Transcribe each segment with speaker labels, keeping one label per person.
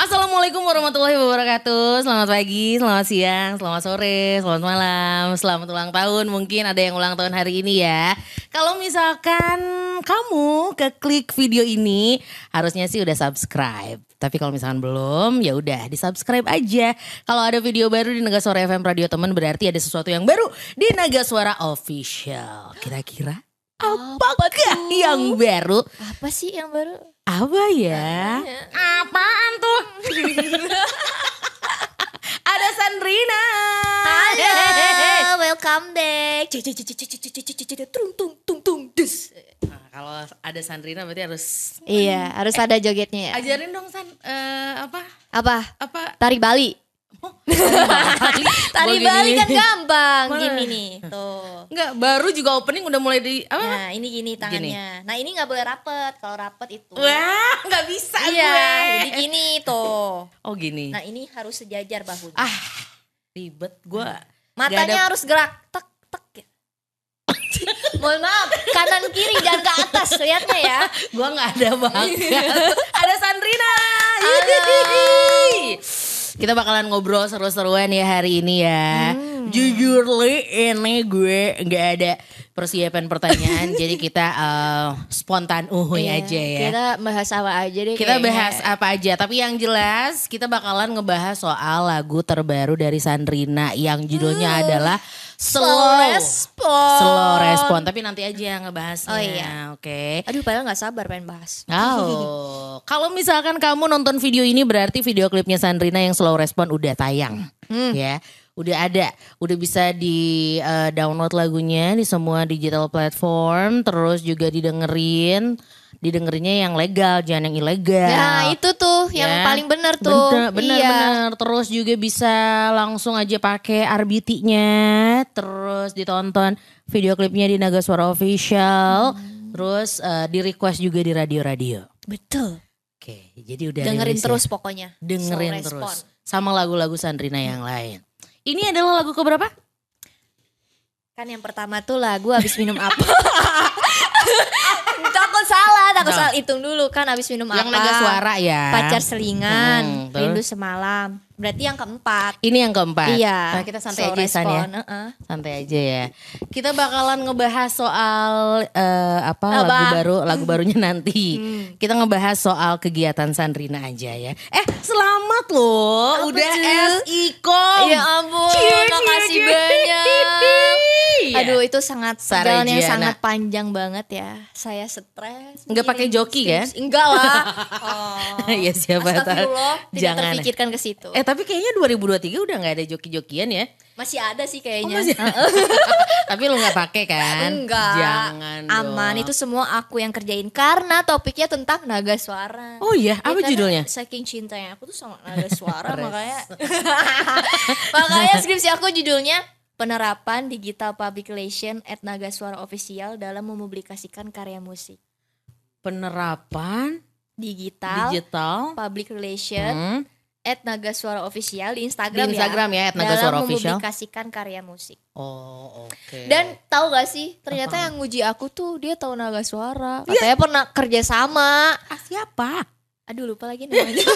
Speaker 1: Assalamualaikum warahmatullahi wabarakatuh. Selamat pagi, selamat siang, selamat sore, selamat malam, selamat ulang tahun. Mungkin ada yang ulang tahun hari ini ya. Kalau misalkan kamu keklik video ini, harusnya sih udah subscribe. Tapi kalau misalkan belum, ya udah di subscribe aja. Kalau ada video baru di Naga Suara FM Radio Teman berarti ada sesuatu yang baru di Naga Suara Official. Kira-kira apakah yang baru?
Speaker 2: Apa sih yang baru?
Speaker 1: Apa ya? Apaan tuh? Ada Sandrina.
Speaker 2: Halo, welcome back. Cek, cek, cek, cek, cek, cek, cek, cek, cek, Tung tung tung tung dus.
Speaker 1: Nah, kalau ada Sandrina berarti harus
Speaker 2: Iya, harus ada jogetnya ya.
Speaker 1: ajarin dong San eh, apa
Speaker 2: Apa?
Speaker 1: apa
Speaker 2: Tari Bali.
Speaker 1: oh, Bali.
Speaker 2: Tari
Speaker 1: Begini.
Speaker 2: Bali kan gampang.
Speaker 1: Mana?
Speaker 2: Gini nih, tuh.
Speaker 1: Enggak, baru juga opening udah mulai di apa?
Speaker 2: Nah, ini gini tangannya. Nah, ini nggak boleh rapet. Kalau rapet itu.
Speaker 1: Wah, nggak bisa
Speaker 2: Iya,
Speaker 1: gue.
Speaker 2: jadi gini tuh.
Speaker 1: Oh gini.
Speaker 2: Nah, ini harus sejajar bahunya.
Speaker 1: Ah, ribet gue.
Speaker 2: Matanya harus gerak tek tek. ya. Mohon maaf, kanan kiri dan ke atas lihatnya ya.
Speaker 1: Gue nggak ada
Speaker 2: Iya.
Speaker 1: bakat. ada Sandrina. Kita bakalan ngobrol seru-seruan ya hari ini ya.
Speaker 2: Hmm.
Speaker 1: Jujur li, ini gue nggak ada persiapan pertanyaan. jadi kita eh, spontan uhuy
Speaker 3: Iya,
Speaker 1: aja ya.
Speaker 3: Kita bahas apa aja deh
Speaker 1: Kita
Speaker 2: ya.
Speaker 3: kayaknya.
Speaker 1: bahas apa aja, tapi yang jelas kita bakalan ngebahas soal lagu terbaru dari Sandrina yang judulnya adalah
Speaker 2: Hmm. Slow
Speaker 1: Slow.
Speaker 2: respon.
Speaker 1: Slow respon, tapi nanti aja yang ngebahasnya.
Speaker 2: Oh, iya.
Speaker 1: Oke.
Speaker 2: Aduh padahal gak sabar pengen bahas.
Speaker 1: Oh, kalau misalkan kamu nonton video ini berarti video klipnya Sandrina yang slow respon udah tayang, ya, udah ada, udah bisa di eh, download lagunya di semua digital platform, terus juga didengerin, didengerinnya yang legal jangan yang
Speaker 2: Ya,
Speaker 1: ilegal.
Speaker 3: Nah itu tuh yang
Speaker 1: Ya.
Speaker 3: paling bener tuh.
Speaker 1: Bener, bener,
Speaker 3: iya.
Speaker 1: bener. Terus juga bisa langsung aja pakai RBT-nya, terus ditonton video klipnya di Naga Suara Official, terus eh, di request juga di radio-radio.
Speaker 2: Betul.
Speaker 1: Oke, jadi udah
Speaker 2: Dengerin
Speaker 1: rilis ya.
Speaker 2: terus pokoknya.
Speaker 1: dengerin
Speaker 2: Slow respon.
Speaker 1: terus sama lagu-lagu Sandrina yang lain. Ini adalah lagu keberapa?
Speaker 2: Kan yang pertama tuh lagu abis minum apa. takut salah, takut
Speaker 1: Nah.
Speaker 2: salah. Hitung dulu kan abis minum
Speaker 1: Yang
Speaker 2: apa.
Speaker 1: naga suara ya.
Speaker 2: Pacar selingan,
Speaker 1: Hmm, terus?
Speaker 2: rindu semalam. Berarti yang keempat.
Speaker 1: Ini yang keempat.
Speaker 2: Iya.
Speaker 1: Nah, kita santai
Speaker 2: Slow
Speaker 1: aja San ya.
Speaker 2: respon, heeh.
Speaker 1: Santai aja ya. Kita bakalan ngebahas soal eh, apa, lagu
Speaker 2: Apa?
Speaker 1: baru, lagu barunya nanti.
Speaker 2: Hmm.
Speaker 1: Kita ngebahas soal kegiatan Sandrina aja ya. Eh, selamat loh.
Speaker 2: Apa
Speaker 1: udah Iya,
Speaker 2: tuh?
Speaker 1: SIKOM.
Speaker 2: Ya ampun,
Speaker 1: Cie,
Speaker 2: makasih
Speaker 1: cie, cie.
Speaker 2: banyak.
Speaker 1: iya.
Speaker 2: Aduh itu sangat
Speaker 1: Sarah
Speaker 2: perjalanan yang
Speaker 1: Jiana.
Speaker 2: sangat panjang banget ya. Saya stres.
Speaker 1: Nggak pakai
Speaker 2: begini,
Speaker 1: joki,
Speaker 2: begini,
Speaker 1: kan?
Speaker 2: begini. Enggak lah. Oh.
Speaker 1: Ya siapa tahu.
Speaker 2: Astagfirullah, tidak
Speaker 1: Jangan.
Speaker 2: terpikirkan ke situ.
Speaker 1: Eh tapi kayaknya 2023 udah nggak ada joki-jokian ya.
Speaker 2: Masih ada sih kayaknya. Ah,
Speaker 1: Oh, masih- tapi lu nggak pakai kan?
Speaker 2: Enggak.
Speaker 1: Jangan
Speaker 2: Aman
Speaker 1: dong.
Speaker 2: itu semua aku yang kerjain karena topiknya tentang naga suara.
Speaker 1: Oh iya,
Speaker 2: Ya,
Speaker 1: apa
Speaker 2: karena
Speaker 1: judulnya?
Speaker 2: Saking cintanya aku tuh sama naga suara makanya makanya skripsi aku judulnya penerapan digital public relation at naga suara official dalam mempublikasikan karya musik
Speaker 1: Penerapan
Speaker 2: digital,
Speaker 1: digital.
Speaker 2: public relation
Speaker 1: Hmm.
Speaker 2: at naga suara official di
Speaker 1: Di
Speaker 2: Instagram,
Speaker 1: Instagram ya,
Speaker 2: ya
Speaker 1: at Naga Suara
Speaker 2: dalam
Speaker 1: Official.
Speaker 2: mempublikasikan karya musik.
Speaker 1: Oh oke.
Speaker 2: Dan tahu gak sih, ternyata yang nguji aku tuh dia tahu naga suara. Katanya pernah kerja sama.
Speaker 1: Ah, siapa?
Speaker 2: Aduh lupa lagi namanya.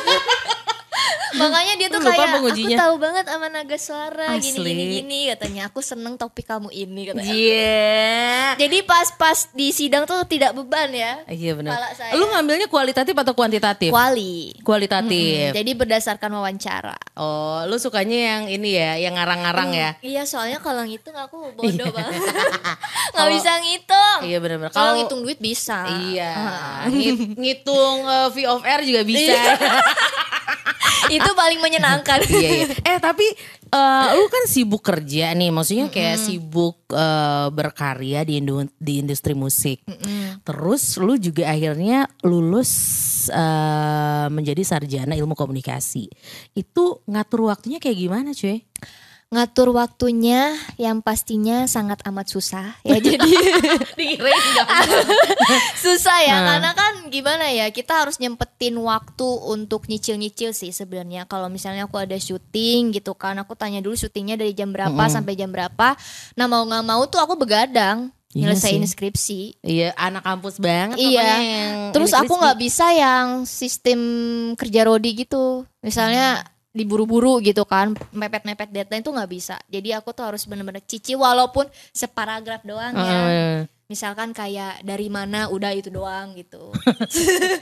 Speaker 2: Makanya dia tuh
Speaker 1: Lupa
Speaker 2: kayak
Speaker 1: pengujinya.
Speaker 2: aku tahu banget sama naga suara gini
Speaker 1: Asli.
Speaker 2: gini gini katanya. Aku seneng topik kamu ini katanya.
Speaker 1: Iya.
Speaker 2: Jadi pas-pas di sidang tuh tidak beban ya.
Speaker 1: Iya benar.
Speaker 2: Kepala saya.
Speaker 1: Lu ngambilnya kualitatif atau
Speaker 2: Iya.
Speaker 1: kuantitatif?
Speaker 2: Kuali.
Speaker 1: kualitatif.
Speaker 2: Jadi berdasarkan wawancara.
Speaker 1: Oh, lu sukanya yang ini ya, yang ngarang-ngarang ya.
Speaker 2: Iya soalnya kalau ngitung aku bodoh banget. Nggak
Speaker 1: Kalau-
Speaker 2: bisa ngitung.
Speaker 1: Iya benar-benar.
Speaker 2: Iya. Kalau ngitung duit bisa.
Speaker 1: Iya,
Speaker 2: Ah.
Speaker 1: ngit- ngitung eh, V of R juga bisa.
Speaker 2: Iya. Itu paling menyenangkan.
Speaker 1: iya, iya. Eh tapi eh, lu kan sibuk kerja nih, maksudnya kayak sibuk eh, berkarya di indu- di industri musik. Terus lu juga akhirnya lulus eh, menjadi sarjana ilmu komunikasi. Itu ngatur waktunya kayak gimana, cuy?
Speaker 2: ngatur waktunya yang pastinya sangat amat susah ya jadi
Speaker 1: Dikirain
Speaker 2: susah ya karena kan gimana ya kita harus nyempetin waktu untuk nyicil-nyicil sih sebenarnya kalau misalnya aku ada syuting gitu kan aku tanya dulu syutingnya dari jam berapa sampai jam berapa nah mau nggak mau tuh aku begadang
Speaker 1: Iya
Speaker 2: nyelesain
Speaker 1: sih.
Speaker 2: skripsi.
Speaker 1: Iya, anak kampus banget.
Speaker 2: Iya.
Speaker 1: pokoknya yang
Speaker 2: Terus
Speaker 1: ini
Speaker 2: aku
Speaker 1: Crispy.
Speaker 2: nggak bisa yang sistem kerja rodi gitu.
Speaker 1: Hmm.
Speaker 2: Misalnya diburu-buru gitu kan, mepet-mepet deadline itu nggak bisa. Jadi aku tuh harus bener-bener cici walaupun separagraf doang ya.
Speaker 1: Heeh.
Speaker 2: Misalkan kayak dari mana udah itu doang gitu.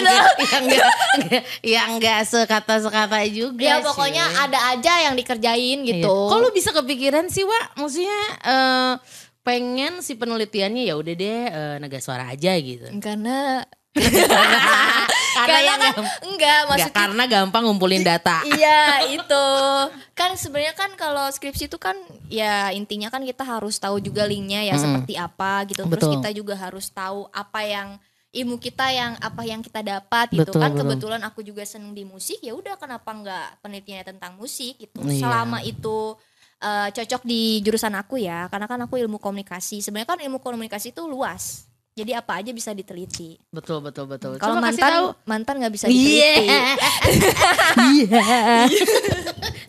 Speaker 1: Iya, iya, enggak, enggak, ya enggak sekata-sekata juga
Speaker 2: Ya
Speaker 1: Iya sih.
Speaker 2: pokoknya ada aja yang dikerjain gitu.
Speaker 1: Iya. Kok lu bisa kepikiran sih, Wak? Maksudnya eh, pengen si penelitiannya ya udah deh eh, naga suara aja gitu.
Speaker 2: Karena
Speaker 1: karena
Speaker 2: karena
Speaker 1: yang
Speaker 2: kan
Speaker 1: gamp-
Speaker 2: enggak
Speaker 1: enggak,
Speaker 2: maksudnya
Speaker 1: karena gampang ngumpulin data.
Speaker 2: iya itu kan sebenarnya kan kalau skripsi itu kan ya intinya kan kita harus tahu juga linknya ya
Speaker 1: Mm-mm.
Speaker 2: seperti apa gitu terus
Speaker 1: Betul.
Speaker 2: kita juga harus tahu apa yang ilmu kita yang apa yang kita dapat gitu
Speaker 1: Betul,
Speaker 2: kan
Speaker 1: betul.
Speaker 2: kebetulan aku juga seneng di musik ya udah kenapa enggak penelitiannya tentang musik gitu
Speaker 1: Iya.
Speaker 2: selama itu eh, cocok di jurusan aku ya karena kan aku ilmu komunikasi sebenarnya kan ilmu komunikasi itu luas jadi apa aja bisa diteliti
Speaker 1: Betul, betul, betul.
Speaker 2: kalau
Speaker 1: Coba kasih
Speaker 2: mantan
Speaker 1: tahu.
Speaker 2: mantan nggak bisa
Speaker 1: Iya.
Speaker 2: diteliti
Speaker 1: Iya.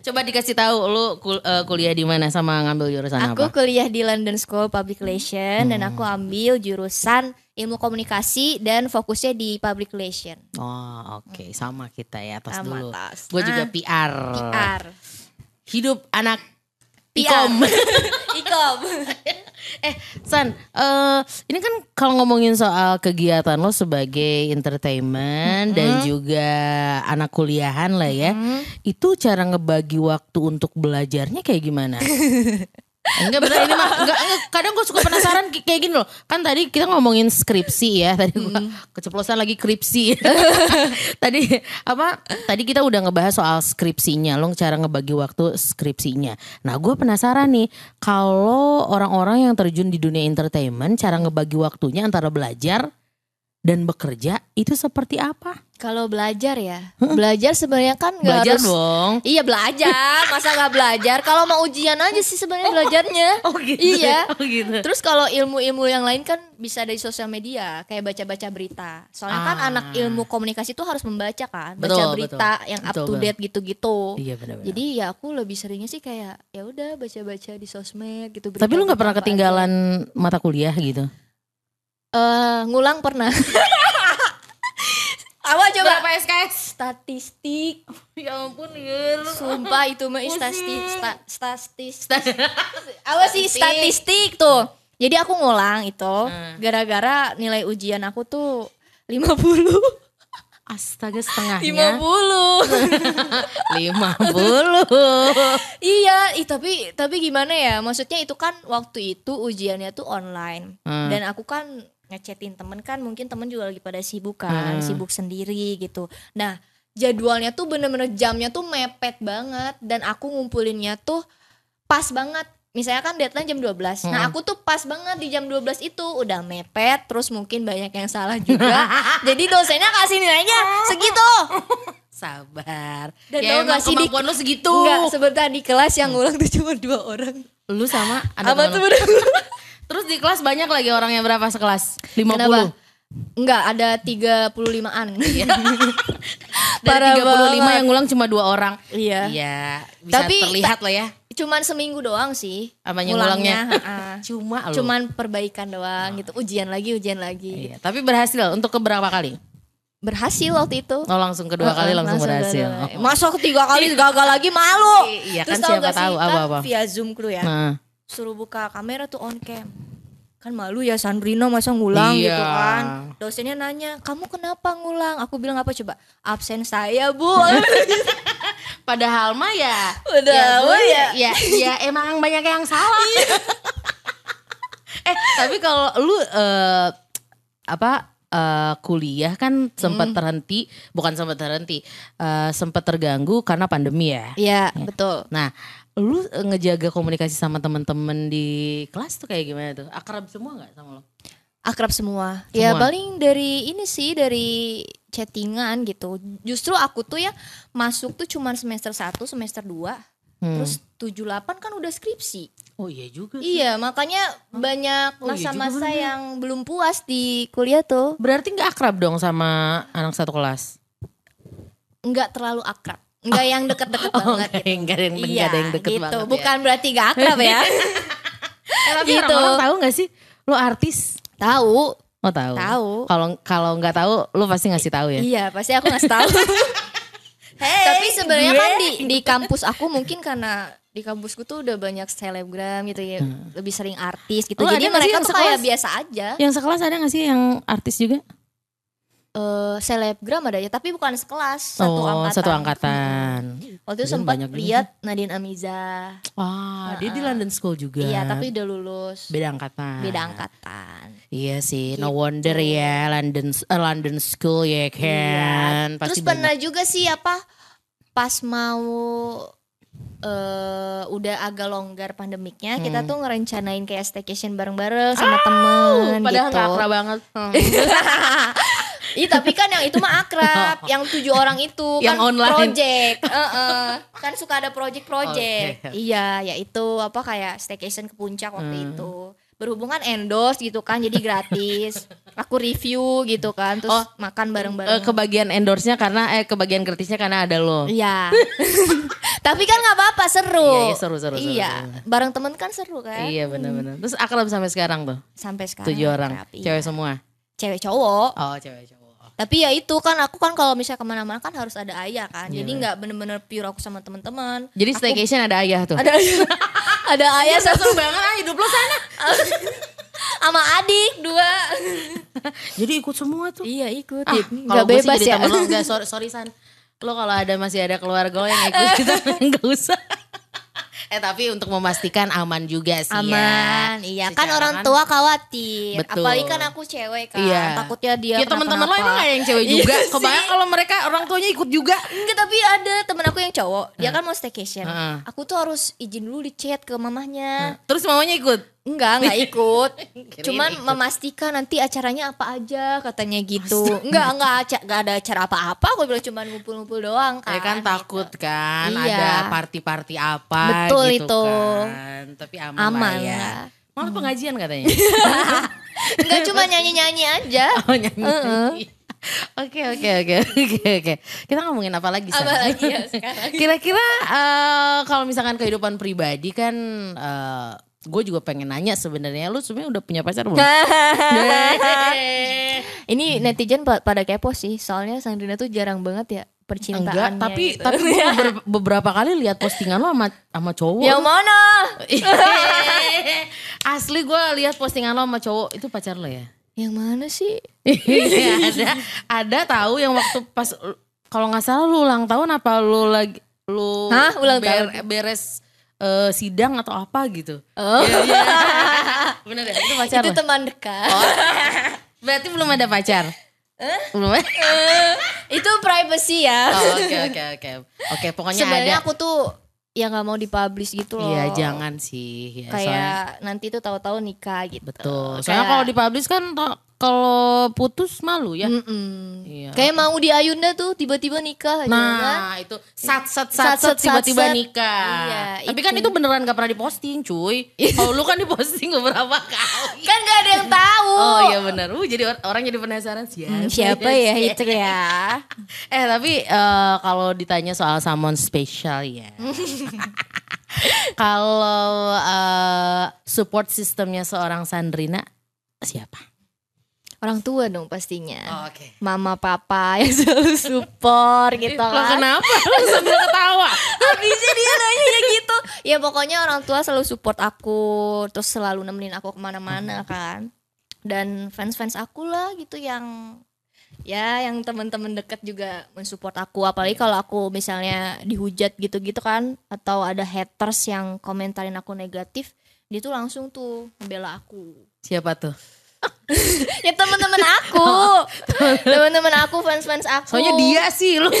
Speaker 1: Coba dikasih tahu lu kul- eh, kuliah di mana sama ngambil jurusan apa?
Speaker 2: Aku
Speaker 1: Hmm.
Speaker 2: kuliah di London School of Public Relation dan aku ambil jurusan ilmu komunikasi dan fokusnya di public relation.
Speaker 1: Oh, oke, sama kita ya, atas
Speaker 2: Sama
Speaker 1: dulu.
Speaker 2: tas.
Speaker 1: Gue juga
Speaker 2: Ah,
Speaker 1: PR.
Speaker 2: PR.
Speaker 1: Hidup anak
Speaker 2: PR.
Speaker 1: Ikom.
Speaker 2: Ikom.
Speaker 1: San, eh, ini kan kalau ngomongin soal kegiatan lo sebagai entertainment dan juga anak kuliahan lah ya, itu cara ngebagi waktu untuk belajarnya kayak gimana? Enggak bener ini mah enggak, enggak. kadang gue suka penasaran ki- kayak gini loh. Kan tadi kita ngomongin skripsi ya, tadi gua keceplosan lagi kripsi. tadi apa? Tadi kita udah ngebahas soal skripsinya, lo cara ngebagi waktu skripsinya. Nah, gue penasaran nih kalau orang-orang yang terjun di dunia entertainment cara ngebagi waktunya antara belajar dan bekerja itu seperti apa?
Speaker 2: Kalau belajar ya, belajar sebenarnya kan nggak
Speaker 1: Belajar
Speaker 2: harus.
Speaker 1: dong.
Speaker 2: Iya belajar, masa nggak belajar? Kalau mau ujian aja sih sebenarnya belajarnya.
Speaker 1: Oh gitu.
Speaker 2: Iya.
Speaker 1: Oh gitu.
Speaker 2: Terus kalau ilmu-ilmu yang lain kan bisa dari sosial media, kayak baca-baca berita. Soalnya kan
Speaker 1: Ah.
Speaker 2: anak ilmu komunikasi itu harus membaca kan, baca
Speaker 1: Betul,
Speaker 2: berita yang up
Speaker 1: Betul,
Speaker 2: to
Speaker 1: betul.
Speaker 2: date gitu-gitu.
Speaker 1: Iya benar-benar.
Speaker 2: Jadi ya aku lebih seringnya sih kayak ya udah baca-baca di sosmed gitu.
Speaker 1: Tapi lu nggak pernah
Speaker 2: berita-berita
Speaker 1: ketinggalan mata kuliah gitu?
Speaker 2: apa aja. Eh, ngulang pernah. Apa coba?
Speaker 1: SKS?
Speaker 2: Statistik,
Speaker 1: Ya ampun, Yir.
Speaker 2: sumpah itu mah
Speaker 1: Pusing.
Speaker 2: statistik, sta- statistik. Apa sih statistik tuh? Jadi aku ngulang itu
Speaker 1: Hmm.
Speaker 2: gara-gara nilai ujian aku tuh 50.
Speaker 1: Astaga setengahnya
Speaker 2: 50.
Speaker 1: 50
Speaker 2: iya, ih, tapi tapi gimana ya? Maksudnya itu kan waktu itu ujiannya tuh online.
Speaker 1: Hmm.
Speaker 2: Dan aku kan ngechatin temen kan mungkin temen juga lagi pada sibuk kan,
Speaker 1: Hmm.
Speaker 2: sibuk sendiri gitu. Nah, jadwalnya tuh bener-bener jamnya tuh mepet banget dan aku ngumpulinnya tuh pas banget. Misalnya kan deadline jam 12. Nah,
Speaker 1: Hmm.
Speaker 2: aku tuh pas banget di jam 12 itu udah mepet, terus mungkin banyak yang salah juga. Jadi dosennya kasih nilainya segitu.
Speaker 1: Sabar
Speaker 2: Dan
Speaker 1: Ya
Speaker 2: tau
Speaker 1: emang
Speaker 2: gak sih, Dik?
Speaker 1: kemampuan lu segitu
Speaker 2: Enggak, sebentar di kelas yang ngulang tuh cuma dua orang.
Speaker 1: Lu sama ada
Speaker 2: Apa
Speaker 1: temen
Speaker 2: tuh
Speaker 1: lu.
Speaker 2: berapa?
Speaker 1: Terus di kelas banyak lagi orang yang berapa sekelas? 50
Speaker 2: Kenapa? Enggak, ada 35-an.
Speaker 1: Iya. Dari
Speaker 2: Parah
Speaker 1: 35 yang
Speaker 2: banget.
Speaker 1: ngulang cuma dua orang
Speaker 2: Iya.
Speaker 1: Iya Bisa
Speaker 2: Tapi-
Speaker 1: terlihat lah ya
Speaker 2: Cuman seminggu doang sih.
Speaker 1: Apanya ngulangnya?
Speaker 2: heeh.
Speaker 1: Cuma lu
Speaker 2: Cuman perbaikan doang gitu. Ujian lagi, ujian lagi.
Speaker 1: Iya, Tapi berhasil untuk keberapa kali?
Speaker 2: Berhasil waktu itu.
Speaker 1: Oh langsung kedua kali
Speaker 2: Heeh,
Speaker 1: langsung, berhasil
Speaker 2: kedua-
Speaker 1: Oh.
Speaker 2: Masuk tiga kali gagal lagi malu.
Speaker 1: Iya kan
Speaker 2: tau
Speaker 1: siapa
Speaker 2: gak sih,
Speaker 1: tahu
Speaker 2: kan
Speaker 1: apa-apa
Speaker 2: Via Zoom kru ya.
Speaker 1: Nah.
Speaker 2: Suruh buka kamera tuh on cam. Kan malu ya Sandrina masa ngulang
Speaker 1: Iya.
Speaker 2: gitu kan. Dosennya nanya, "Kamu kenapa ngulang?" Aku bilang apa coba? Absen saya, Bu.
Speaker 1: Padahal mah ya,
Speaker 2: Padahal
Speaker 1: ya,
Speaker 2: mah ya. Iya.
Speaker 1: ya, ya emang banyak yang salah. eh tapi kalau lu eh, apa eh, kuliah kan
Speaker 2: Mm.
Speaker 1: sempat terhenti, bukan sempat terhenti, eh, sempat terganggu karena pandemi ya.
Speaker 2: Iya, betul.
Speaker 1: Nah, lu eh, ngejaga komunikasi sama temen-temen di kelas tuh kayak gimana tuh? Akrab semua nggak sama lo?
Speaker 2: akrab semua.
Speaker 1: Semua.
Speaker 2: Ya paling dari ini sih dari chattingan gitu. Justru aku tuh ya masuk tuh cuman semester 1, semester 2.
Speaker 1: Hmm.
Speaker 2: Terus 78 kan udah skripsi.
Speaker 1: Oh iya juga. sih.
Speaker 2: Iya, makanya banyak
Speaker 1: Oh, iya juga
Speaker 2: masa-masa
Speaker 1: bener.
Speaker 2: yang belum puas di kuliah tuh
Speaker 1: Berarti nggak akrab dong sama anak satu kelas?
Speaker 2: nggak terlalu akrab. Nggak yang deket-deket
Speaker 1: Oh,
Speaker 2: banget.
Speaker 1: nggak, nggak ada yang, nggak
Speaker 2: Iya,
Speaker 1: ada yang deket ya.
Speaker 2: gitu.
Speaker 1: banget ya.
Speaker 2: Bukan berarti gak akrab ya.
Speaker 1: Eh, tapi
Speaker 2: Gitu.
Speaker 1: orang-orang tahu nggak sih lo artis?
Speaker 2: Tahu,
Speaker 1: Oh tahu.
Speaker 2: tahu.
Speaker 1: Kalau kalau nggak tahu lo pasti ngasih tahu ya.
Speaker 2: Iya, pasti aku ngasih tahu.
Speaker 4: Hey,
Speaker 2: Tapi sebenarnya
Speaker 4: gue.
Speaker 2: kan di di kampus aku mungkin karena di kampusku tuh udah banyak selebgram gitu ya, lebih sering artis gitu.
Speaker 1: Lu
Speaker 2: Jadi
Speaker 1: Hmm. Oh, ada nggak sih
Speaker 2: mereka
Speaker 1: yang
Speaker 2: tuh kayak
Speaker 1: sekelas?
Speaker 2: biasa aja.
Speaker 1: Yang sekelas ada nggak sih yang artis juga?
Speaker 2: Eh, selebgram ada ya, tapi bukan sekelas, satu
Speaker 1: oh
Speaker 2: angkatan.
Speaker 1: satu angkatan.
Speaker 2: Waktu itu
Speaker 1: Jadi
Speaker 2: sempat
Speaker 1: banyak juga
Speaker 2: lihat Nadine Amiza.
Speaker 1: Wah dia di London School juga.
Speaker 2: Iya, tapi udah lulus.
Speaker 1: beda angkatan.
Speaker 2: Beda angkatan.
Speaker 1: Iya sih, no wonder ya London eh, London School ya kan.
Speaker 2: Terus
Speaker 1: Pasti
Speaker 2: pernah
Speaker 1: banyak.
Speaker 2: juga sih apa pas mau eh udah agak longgar pandemiknya, kita
Speaker 1: Hmm.
Speaker 2: tuh ngerencanain kayak staycation bareng-bareng sama temen
Speaker 1: Ah, Padahal
Speaker 2: gitu.
Speaker 1: nggak akrab banget.
Speaker 2: Iya tapi kan yang itu mah akrab, yang tujuh orang itu
Speaker 1: Yang
Speaker 2: kan
Speaker 1: online.
Speaker 2: project, Heeh. kan suka ada project-project.
Speaker 1: Oke. Hmm.
Speaker 2: Iya, ya itu apa kayak staycation ke puncak waktu itu. Berhubungan endorse gitu kan, jadi gratis. Aku review gitu kan, terus
Speaker 1: Oh, Eh,
Speaker 2: makan bareng-bareng.
Speaker 1: kebagian endorse-nya karena eh kebagian gratisnya karena ada lo.
Speaker 2: Iya. tapi kan nggak apa-apa seru.
Speaker 1: Oh. Iya, iya, seru, seru, seru,
Speaker 2: Iya,
Speaker 1: seru.
Speaker 2: bareng temen kan seru kan.
Speaker 1: Iya benar-benar. Terus akrab sampai sekarang tuh.
Speaker 2: Sampai sekarang.
Speaker 1: Tujuh orang,
Speaker 2: akrab, iya.
Speaker 1: cewek semua.
Speaker 2: Cewek cowok.
Speaker 1: Oh, cewek cowok.
Speaker 2: Tapi ya itu kan aku kan kalau misalnya kemana-mana kan harus ada ayah kan.
Speaker 1: Iya.
Speaker 2: Jadi nggak bener-bener pure aku sama teman-teman.
Speaker 1: Jadi staycation ada ayah tuh.
Speaker 2: Ada ayah, ada ayah sama,
Speaker 1: seru banget ah hidup lo sana.
Speaker 2: sama adik dua.
Speaker 1: Jadi ikut semua tuh.
Speaker 2: iya ikut.
Speaker 1: Ah,
Speaker 2: nggak
Speaker 1: kalau gue
Speaker 2: bebas
Speaker 1: sih jadi
Speaker 2: ya.
Speaker 1: temen lo enggak sorry, sorry San. Lo kalau ada masih ada keluarga lo yang ikut kita enggak usah. eh tapi untuk memastikan aman juga sih ya.
Speaker 2: Aman, iya
Speaker 1: Secara
Speaker 2: kan orang
Speaker 1: kan-
Speaker 2: tua khawatir.
Speaker 1: Betul.
Speaker 2: Apalagi kan aku cewek kan,
Speaker 1: Iya.
Speaker 2: takutnya dia.
Speaker 1: Ya, ya teman-teman lo emang
Speaker 2: kenapa-napa.
Speaker 1: ada yang cewek
Speaker 2: Iya
Speaker 1: juga.
Speaker 2: sih.
Speaker 1: Kebayang kalau mereka orang tuanya ikut juga.
Speaker 2: Enggak tapi ada temen aku yang cowok, dia kan mau staycation.
Speaker 1: Heeh.
Speaker 2: Aku tuh harus izin dulu di chat ke mamahnya.
Speaker 1: Terus mamanya ikut.
Speaker 2: Enggak, enggak ikut.
Speaker 1: Kirain
Speaker 2: Cuman
Speaker 1: ikut.
Speaker 2: memastikan nanti acaranya apa aja katanya gitu. Enggak, enggak, aca- enggak ada acara apa-apa. Aku bilang cuman ngumpul-ngumpul doang kan.
Speaker 1: Ya kan takut kan
Speaker 2: Iya.
Speaker 1: ada party-party apa
Speaker 2: Betul
Speaker 1: gitu
Speaker 2: itu.
Speaker 1: kan. Tapi aman,
Speaker 2: Aman
Speaker 1: lah ya.
Speaker 2: lah. Hmm.
Speaker 1: Malah pengajian katanya.
Speaker 2: Enggak cuma nyanyi-nyanyi aja.
Speaker 1: oh nyanyi. Oke oke oke oke oke. Kita ngomongin apa lagi? San?
Speaker 2: Apa lagi ya sekarang?
Speaker 1: Kira-kira eh, kalau misalkan kehidupan pribadi kan eh, gue juga pengen nanya sebenarnya lu sebenarnya udah punya pacar belum? Deh.
Speaker 2: Ini netizen pa- pada kepo sih. Soalnya Sandrina tuh jarang banget ya percintaannya.
Speaker 1: Enggak, tapi
Speaker 2: gitu.
Speaker 1: tapi gue beber- beberapa kali lihat postingan lo sama sama cowok.
Speaker 2: yang mana?
Speaker 1: Asli gue lihat postingan lo sama cowok itu pacar lo ya?
Speaker 2: Yang mana sih?
Speaker 1: Iya, ada ada tahu yang waktu pas kalau nggak salah lu ulang tahun apa lu lagi lu
Speaker 2: Hah, ulang
Speaker 1: beres eh, sidang atau apa gitu. Oh. Bener ya? Itu pacar
Speaker 2: Itu
Speaker 1: lo?
Speaker 2: teman dekat.
Speaker 1: Berarti belum ada pacar. Belum. ada?
Speaker 2: Itu privacy ya.
Speaker 1: Oh, Oke oke oke. Oke, pokoknya ada.
Speaker 2: Sebenarnya aku tuh ya nggak mau dipublish gitu loh.
Speaker 1: Iya, jangan sih. Ya, soalnya-
Speaker 2: kayak nanti tuh tahu-tahu nikah gitu.
Speaker 1: Betul. Soalnya
Speaker 2: Kayak-
Speaker 1: kalau dipublish kan ta- kalau putus malu ya.
Speaker 2: Mm-mm.
Speaker 1: Iya.
Speaker 2: Kayak mau di Ayunda tuh tiba-tiba nikah aja kan.
Speaker 1: Nah, itu sat sat sat
Speaker 2: Sat, sat,
Speaker 1: sat tiba-tiba
Speaker 2: sat.
Speaker 1: nikah.
Speaker 2: Iya,
Speaker 1: Tapi kan itu beneran gak pernah diposting, cuy. Kalau lu kan diposting beberapa kali.
Speaker 2: Kan gak ada yang tahu.
Speaker 1: Oh iya benar. Uh, jadi or- orang jadi penasaran siapa,
Speaker 2: Siapa ya itu ya?
Speaker 1: Eh tapi eh, kalau ditanya soal salmon spesial ya. kalau eh, support sistemnya seorang Sandrina siapa?
Speaker 2: Orang tua dong pastinya.
Speaker 1: Oke.
Speaker 2: Mama papa yang selalu support gitu
Speaker 1: Lo
Speaker 2: kan.
Speaker 1: kenapa? Lo sambil ketawa.
Speaker 2: Habisnya dia nanya gitu. Ya pokoknya orang tua selalu support aku, terus selalu nemenin aku
Speaker 1: Hmm.
Speaker 2: kemana-mana kan. Dan fans-fans aku lah gitu yang ya yang teman-teman dekat juga mensupport aku apalagi kalau aku misalnya dihujat gitu-gitu kan atau ada haters yang komentarin aku negatif dia tuh langsung tuh membela aku
Speaker 1: Siapa tuh?
Speaker 2: ya teman-teman aku teman-teman aku fans-fans aku
Speaker 1: Soalnya dia sih lu.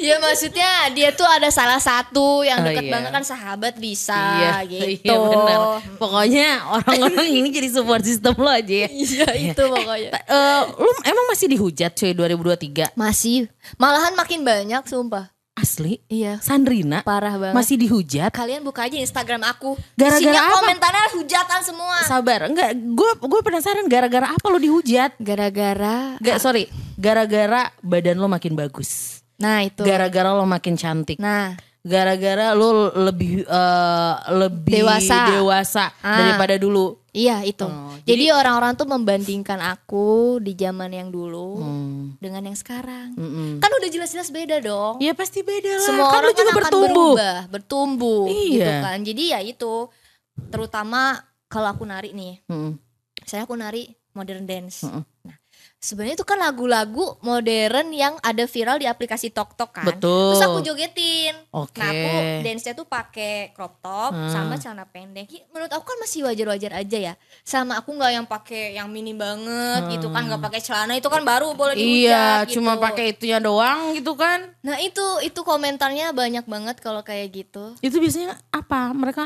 Speaker 2: Ya maksudnya dia tuh ada salah satu
Speaker 1: Oh,
Speaker 2: yang deket
Speaker 1: iya.
Speaker 2: banget kan sahabat bisa gitu.
Speaker 1: Iya benar. Pokoknya orang-orang ini jadi support system lo aja ya.
Speaker 2: Iya itu pokoknya.
Speaker 1: Ta- eh, lu emang masih dihujat cuy 2023
Speaker 2: Masih malahan makin banyak sumpah.
Speaker 1: asli
Speaker 2: Iya,
Speaker 1: Sandrina
Speaker 2: parah banget.
Speaker 1: masih dihujat
Speaker 2: Kalian buka aja Instagram aku.
Speaker 1: Gara-gara
Speaker 2: Isinya
Speaker 1: apa?
Speaker 2: komentarnya hujatan semua.
Speaker 1: sabar enggak gue gue penasaran gara-gara apa lo dihujat
Speaker 2: Gara-gara
Speaker 1: enggak sorry gara-gara badan lo makin bagus
Speaker 2: Nah, itu.
Speaker 1: gara-gara lo makin cantik
Speaker 2: Nah,
Speaker 1: gara-gara lu lebih eh, lebih
Speaker 2: Dewasa.
Speaker 1: dewasa
Speaker 2: Ah.
Speaker 1: daripada dulu.
Speaker 2: Iya itu.
Speaker 1: Oh,
Speaker 2: jadi orang-orang tuh membandingkan aku di zaman yang dulu
Speaker 1: Hmm.
Speaker 2: dengan yang sekarang.
Speaker 1: Mm-mm.
Speaker 2: Kan udah jelas-jelas beda dong.
Speaker 1: Ya pasti beda lah. kan
Speaker 2: Semua
Speaker 1: lu juga
Speaker 2: orang kan akan
Speaker 1: bertumbuh.
Speaker 2: berubah, bertumbuh gitu
Speaker 1: Iya.
Speaker 2: kan. Jadi ya itu terutama kalau aku nari nih,
Speaker 1: Mm-mm.
Speaker 2: saya aku nari modern dance.
Speaker 1: Mm-mm.
Speaker 2: Nah, sebenarnya itu kan lagu-lagu modern yang ada viral di aplikasi TokTok kan.
Speaker 1: Betul.
Speaker 2: Terus aku jogetin.
Speaker 1: Oke.
Speaker 2: Nah aku dance-nya tuh pakai crop top
Speaker 1: Hmm.
Speaker 2: sama celana pendek. Ih, Menurut aku kan masih wajar-wajar aja ya. Sama aku nggak yang pakai yang mini banget gitu kan, nggak pakai celana itu kan baru boleh
Speaker 1: Hmm. Iya,
Speaker 2: dihujat
Speaker 1: cuma
Speaker 2: gitu.
Speaker 1: pakai itunya doang gitu kan.
Speaker 2: Nah itu itu komentarnya banyak banget kalau kayak gitu.
Speaker 1: Itu biasanya apa? Mereka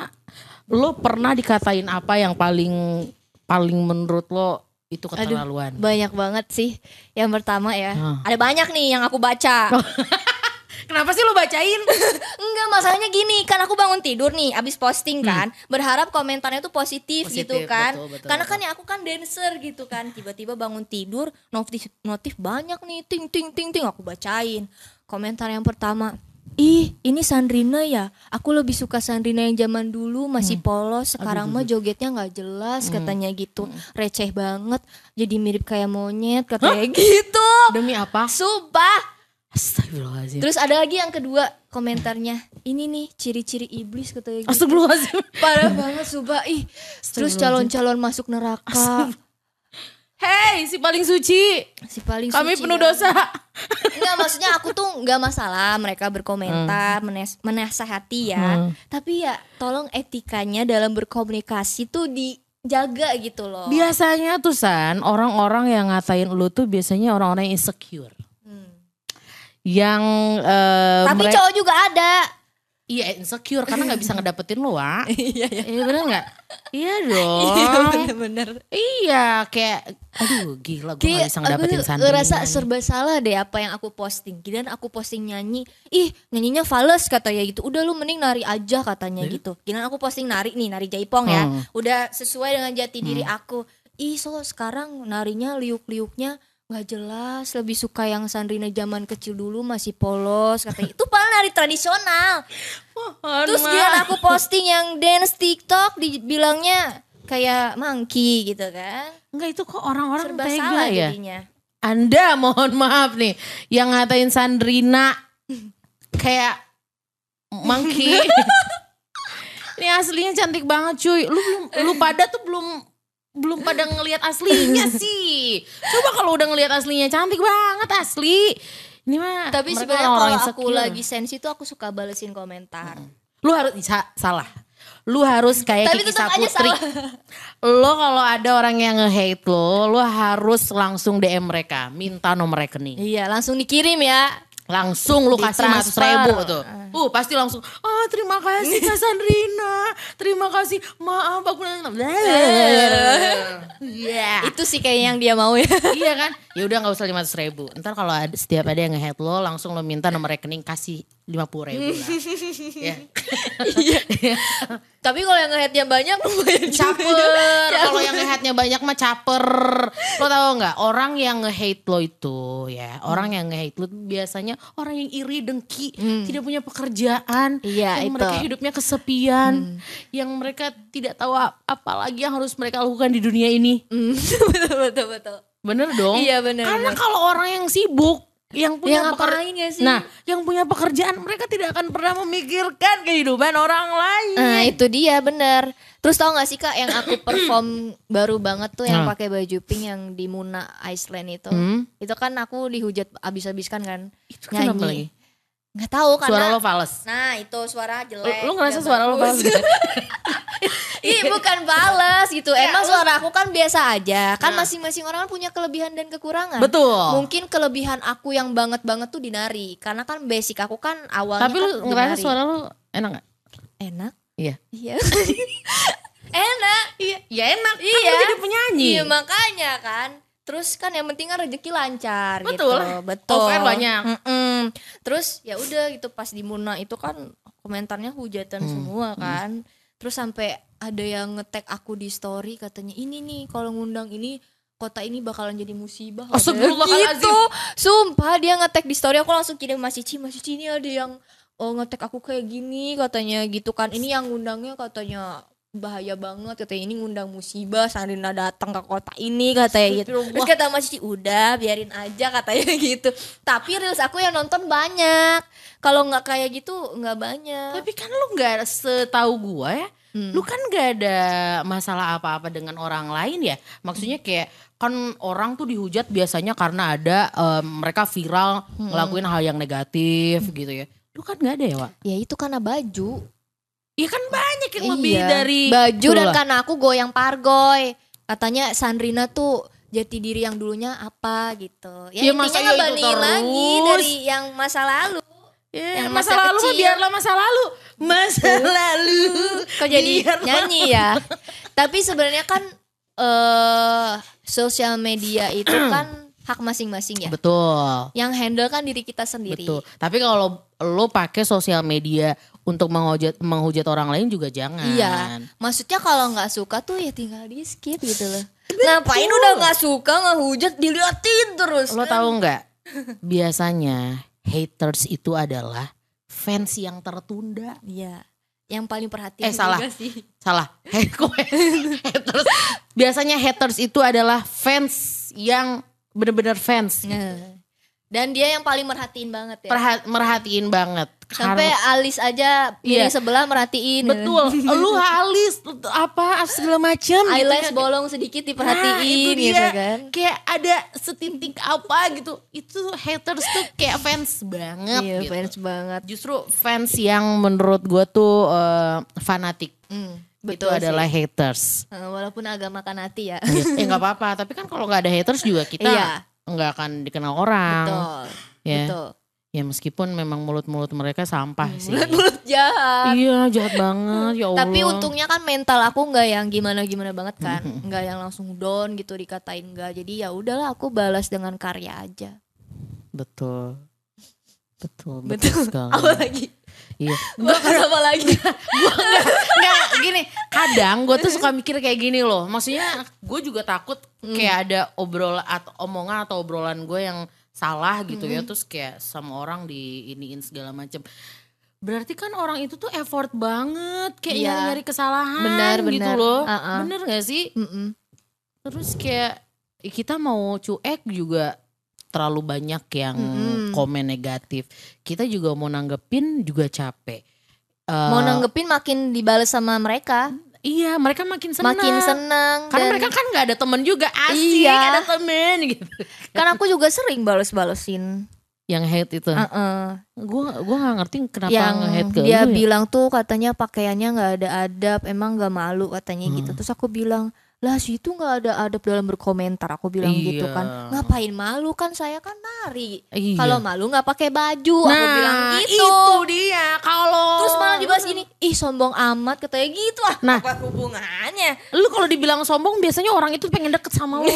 Speaker 1: lo pernah dikatain apa yang paling paling menurut lo itu keterlaluan?
Speaker 2: Banyak banget sih. Yang pertama ya,
Speaker 1: Hmm.
Speaker 2: ada banyak nih yang aku baca.
Speaker 1: Oh. Kenapa sih lo bacain?
Speaker 2: Enggak, masalahnya gini, kan aku bangun tidur nih abis posting kan, berharap komentarnya tuh positif,
Speaker 1: Hmm. Positif,
Speaker 2: gitu kan.
Speaker 1: betul, betul,
Speaker 2: Karena kan ya aku kan dancer gitu kan, tiba-tiba bangun tidur, notif notif banyak nih, ting ting ting ting aku bacain. Komentar yang pertama, Ih, ini Sandrina ya. Aku lebih suka Sandrina yang zaman dulu masih polos, sekarang mah jogetnya nggak jelas katanya gitu. Receh banget, jadi mirip kayak monyet katanya gitu.
Speaker 1: Demi Iya. apa?
Speaker 2: Sumpah,
Speaker 1: Astagfirullahaladzim.
Speaker 2: Terus ada lagi yang kedua komentarnya. Ini nih ciri-ciri iblis katanya gitu.
Speaker 1: Astagfirullahaladzim.
Speaker 2: Parah banget Suba. Ih, terus calon-calon masuk neraka.
Speaker 1: Hei, si paling suci.
Speaker 2: Si paling
Speaker 1: Kami
Speaker 2: suci
Speaker 1: penuh
Speaker 2: banget.
Speaker 1: dosa.
Speaker 2: Enggak, maksudnya aku tuh nggak masalah mereka berkomentar,
Speaker 1: Hmm.
Speaker 2: menes- menasehati ya. Tapi ya tolong etikanya dalam berkomunikasi tuh dijaga gitu loh.
Speaker 1: Biasanya tuh San, orang-orang yang ngatain lu tuh biasanya orang-orang yang insecure.
Speaker 2: Hmm.
Speaker 1: Yang eh,
Speaker 2: Tapi
Speaker 1: mereka-
Speaker 2: cowok juga ada.
Speaker 1: Iya insecure karena nggak bisa ngedapetin lu, Wak.
Speaker 2: Iya, iya.
Speaker 1: Iya bener nggak? Iya dong.
Speaker 2: bener
Speaker 1: iya kayak aduh gila gue nggak bisa ngedapetin
Speaker 2: aku tuh
Speaker 1: Sandrina.
Speaker 2: ngerasa
Speaker 1: nih.
Speaker 2: serba salah deh apa yang aku posting. Giliran aku posting nyanyi, ih nyanyinya fals katanya gitu. Udah lu mending nari aja katanya gitu. Giliran aku posting nari nih, nari jaipong ya.
Speaker 1: Iya. Hmm.
Speaker 2: Udah sesuai dengan jati diri aku. Ih so sekarang narinya liuk-liuknya nggak jelas. Lebih suka yang Sandrina zaman kecil dulu masih polos katanya. Itu paling nari tradisional.
Speaker 1: Mohon
Speaker 2: Terus
Speaker 1: maaf.
Speaker 2: giliran aku posting yang dance TikTok dibilangnya kayak monkey gitu kan.
Speaker 1: Enggak itu kok orang-orang
Speaker 2: Serba
Speaker 1: tega
Speaker 2: salah
Speaker 1: ya.
Speaker 2: jadinya.
Speaker 1: Anda mohon maaf nih yang ngatain Sandrina kayak monkey. Ini aslinya cantik banget cuy. Lu belum lu pada tuh belum belum pada ngelihat aslinya sih. Coba kalau udah ngelihat aslinya cantik banget asli. Ini mah
Speaker 2: Tapi
Speaker 1: mereka
Speaker 2: sebenarnya
Speaker 1: orang-orang
Speaker 2: kalau aku
Speaker 1: insecure.
Speaker 2: lagi sensi tuh aku suka balesin komentar.
Speaker 1: lu harus sa- salah. Lu harus kayak
Speaker 2: Tapi
Speaker 1: Kiki
Speaker 2: tetap aja
Speaker 1: Saputri. Lo kalau ada orang yang nge-hate lo, lo harus langsung DM mereka, minta nomor rekening.
Speaker 2: Iya, langsung dikirim ya.
Speaker 1: langsung lu kasih 100
Speaker 2: Ditransfer.
Speaker 1: ribu tuh. Uh, pasti langsung, oh terima kasih Kak Sandrina, terima kasih, maaf aku Iya.
Speaker 2: Itu sih kayaknya yang dia mau ya.
Speaker 1: Iya kan? Ya udah nggak usah 500 ribu. Ntar kalau ada, setiap ada yang nge lo, langsung lo minta nomor rekening kasih 50 ribu lah. Iya.
Speaker 2: Tapi kalau yang nge-hate-nya banyak lumayan juga.
Speaker 1: caper
Speaker 2: Iya.
Speaker 1: kalau yang nge-hate-nya banyak mah caper lo tau nggak orang yang nge-hate lo itu ya orang yang nge-hate lo tuh biasanya orang yang iri dengki tidak punya pekerjaan
Speaker 2: Hmm.
Speaker 1: yang
Speaker 2: Iya, itu. Hmm.
Speaker 1: mereka hidupnya kesepian yang mereka tidak tahu ap- apa lagi yang harus mereka lakukan di dunia ini
Speaker 2: Hmm, betul betul betul.
Speaker 1: bener dong
Speaker 2: Iya, bener,
Speaker 1: karena kalau orang yang sibuk yang punya
Speaker 2: Yang
Speaker 1: peker-
Speaker 2: ngapain ya sih?
Speaker 1: Nah, yang punya pekerjaan mereka tidak akan pernah memikirkan kehidupan orang lain.
Speaker 2: Nah, itu dia bener. Terus tau gak sih Kak yang aku perform baru banget tuh yang
Speaker 1: Hmm.
Speaker 2: pakai baju pink yang di Muna Iceland itu.
Speaker 1: Hmm.
Speaker 2: Itu kan aku dihujat abis-abis kan kan.
Speaker 1: Itu kenapa lagi?
Speaker 2: Nggak tahu
Speaker 1: Suara
Speaker 2: karena
Speaker 1: lo fales.
Speaker 2: Nah, itu suara jelek.
Speaker 1: Lu ngerasa
Speaker 2: nggak
Speaker 1: suara lo bagus
Speaker 2: bagus.
Speaker 1: gitu?
Speaker 2: Ih bukan balas gitu
Speaker 1: Iya,
Speaker 2: Emang suara aku kan biasa aja Kan masing-masing orang punya kelebihan dan kekurangan
Speaker 1: Nah. Betul.
Speaker 2: Mungkin kelebihan aku yang banget-banget tuh di nari Karena kan basic aku kan awalnya
Speaker 1: Tapi lu
Speaker 2: kan di
Speaker 1: ngerasa
Speaker 2: nari.
Speaker 1: suara lu enak gak?
Speaker 2: Enak
Speaker 1: Iya.
Speaker 2: Iya Enak Iya
Speaker 1: Ya enak. Kan
Speaker 2: Iya.
Speaker 1: lu jadi penyanyi.
Speaker 2: Iya makanya kan Terus kan yang penting kan rezeki lancar
Speaker 1: Betul.
Speaker 2: gitu Betul
Speaker 1: Off air banyak.
Speaker 2: Mm-mm. Terus ya udah gitu pas di Muna itu kan komentarnya hujatan
Speaker 1: Hmm.
Speaker 2: semua kan Terus sampai ada yang ngetek aku di story katanya Ini nih kalau ngundang ini kota ini bakalan jadi musibah katanya.
Speaker 1: Astagfirullahaladzim.
Speaker 2: Gitu Sumpah dia ngetek di story aku langsung kirim Mas Cici Mas Cici ini ada yang oh ngetek aku kayak gini katanya gitu kan ini yang ngundangnya katanya bahaya banget katanya ini ngundang musibah Sarina datang ke kota ini katanya gitu terus kata Mas Cici udah biarin aja katanya gitu tapi reels aku yang nonton banyak kalau nggak kayak gitu nggak banyak Hmm.
Speaker 1: Tapi kan lu nggak setahu gua ya, lu kan nggak ada masalah apa-apa dengan orang lain ya. Maksudnya kayak kan orang tuh dihujat biasanya karena ada em, mereka viral ngelakuin hal yang negatif gitu ya. Lu kan nggak ada ya, Wak?
Speaker 2: ya itu karena baju
Speaker 1: Iya kan banyak yang lebih
Speaker 2: Iya,
Speaker 1: dari
Speaker 2: baju dan
Speaker 1: Itulah.
Speaker 2: karena aku goyang pargoy katanya Sandrina tuh jati diri yang dulunya apa gitu
Speaker 1: Ya,
Speaker 2: ya,
Speaker 1: masa ya
Speaker 2: intinya
Speaker 1: itu
Speaker 2: ngebandingin lagi
Speaker 1: terus?
Speaker 2: dari yang masa lalu
Speaker 1: Ya,
Speaker 2: yang
Speaker 1: masa, lalu
Speaker 2: masa
Speaker 1: mah
Speaker 2: kecil.
Speaker 1: biarlah masa lalu. Masa lalu.
Speaker 2: kok jadi
Speaker 1: Biarlah.
Speaker 2: nyanyi ya tapi sebenarnya kan eh sosial media itu kan hak masing-masing ya
Speaker 1: Betul.
Speaker 2: yang handle kan diri kita sendiri
Speaker 1: Betul. Tapi kalau lo pakai sosial media untuk menghujat menghujat orang lain juga jangan.
Speaker 2: Iya, maksudnya kalau nggak suka tuh ya tinggal di skip gitu loh. Ngapain udah nggak suka ngehujat diliatin terus?
Speaker 1: Lo tahu nggak? Biasanya haters itu adalah fans yang tertunda.
Speaker 2: Iya, yang paling perhatian
Speaker 1: Eh, salah.
Speaker 2: juga sih.
Speaker 1: Salah. Hate- kok haters. Biasanya haters itu adalah fans yang bener-bener fans.
Speaker 2: Nah, Dan dia yang paling merhatiin banget ya.
Speaker 1: Perha- merhatiin banget.
Speaker 2: Sampai alis aja
Speaker 1: Iya.
Speaker 2: piring sebelah merhatiin.
Speaker 1: betul. Lu alis apa segala gitu macam.
Speaker 2: Eyelash bolong
Speaker 1: Iya. Nah,
Speaker 2: sedikit
Speaker 1: itu
Speaker 2: diperhatiin
Speaker 1: dia.
Speaker 2: gitu kan.
Speaker 1: Kayak ada setitik apa gitu. Itu haters tuh kayak fans banget
Speaker 2: Iya,
Speaker 1: gitu.
Speaker 2: fans banget.
Speaker 1: Justru fans yang menurut gua tuh eh, fanatik.
Speaker 2: Hmm,
Speaker 1: itu
Speaker 2: betul sih.
Speaker 1: adalah haters.
Speaker 2: Eh, Walaupun agak makan hati ya.
Speaker 1: ya nggak apa-apa, tapi kan kalau nggak ada haters juga kita
Speaker 2: Iya.
Speaker 1: nggak akan dikenal orang.
Speaker 2: Betul.
Speaker 1: Ya.
Speaker 2: Betul.
Speaker 1: Ya meskipun memang mulut-mulut mereka sampah sih.
Speaker 2: Mulut jahat.
Speaker 1: Iya, jahat banget ya Allah.
Speaker 2: Tapi untungnya kan mental aku nggak yang gimana-gimana banget kan, nggak yang langsung down gitu dikatain nggak. Jadi ya udahlah aku balas dengan karya aja.
Speaker 1: betul. Betul, betul,
Speaker 2: Betul.
Speaker 1: sekali.
Speaker 2: Apa lagi?
Speaker 1: Iya.
Speaker 2: Bahkan apa lagi?
Speaker 1: Nggak, gini. Kadang gue tuh suka mikir kayak gini loh. Maksudnya gue juga takut
Speaker 2: Hmm.
Speaker 1: kayak ada obrolan atau omongan atau obrolan gue yang salah gitu ya.
Speaker 2: Hmm.
Speaker 1: Terus kayak sama orang di iniin segala macem. Berarti kan orang itu tuh effort banget kayak
Speaker 2: Iya.
Speaker 1: nyari-nyari kesalahan
Speaker 2: Benar,
Speaker 1: gitu
Speaker 2: benar.
Speaker 1: loh.
Speaker 2: Uh-uh.
Speaker 1: Bener gak sih?
Speaker 2: Mm-mm.
Speaker 1: Terus kayak kita mau cuek juga terlalu banyak yang
Speaker 2: Mm-mm.
Speaker 1: komen negatif. Kita juga mau nanggepin juga capek. Eh,
Speaker 2: Mau nanggepin makin dibales sama mereka,
Speaker 1: Iya, mereka makin senang.
Speaker 2: makin seneng.
Speaker 1: Karena
Speaker 2: Dan-
Speaker 1: mereka kan nggak ada temen juga asik
Speaker 2: Iya.
Speaker 1: ada temen gitu.
Speaker 2: kan aku juga sering Uh-uh. balas-balesin.
Speaker 1: Yang hate itu,
Speaker 2: Heeh.
Speaker 1: gue gua nggak ngerti kenapa
Speaker 2: yang
Speaker 1: nge-hate ke
Speaker 2: dia
Speaker 1: lu ya.
Speaker 2: bilang tuh katanya pakaiannya nggak ada adab emang nggak malu katanya gitu
Speaker 1: Hmm.
Speaker 2: terus aku bilang lah situ nggak ada adab dalam berkomentar aku bilang gitu
Speaker 1: Iya.
Speaker 2: kan ngapain malu kan saya kan nari
Speaker 1: Iya.
Speaker 2: kalau malu nggak pakai baju
Speaker 1: nah,
Speaker 2: aku bilang gitu
Speaker 1: itu dia kalau
Speaker 2: terus malah dibahas gini ih sombong amat katanya gitu ah
Speaker 1: Nah.
Speaker 2: apa hubungannya
Speaker 1: lu kalau dibilang sombong biasanya orang itu pengen deket sama lu.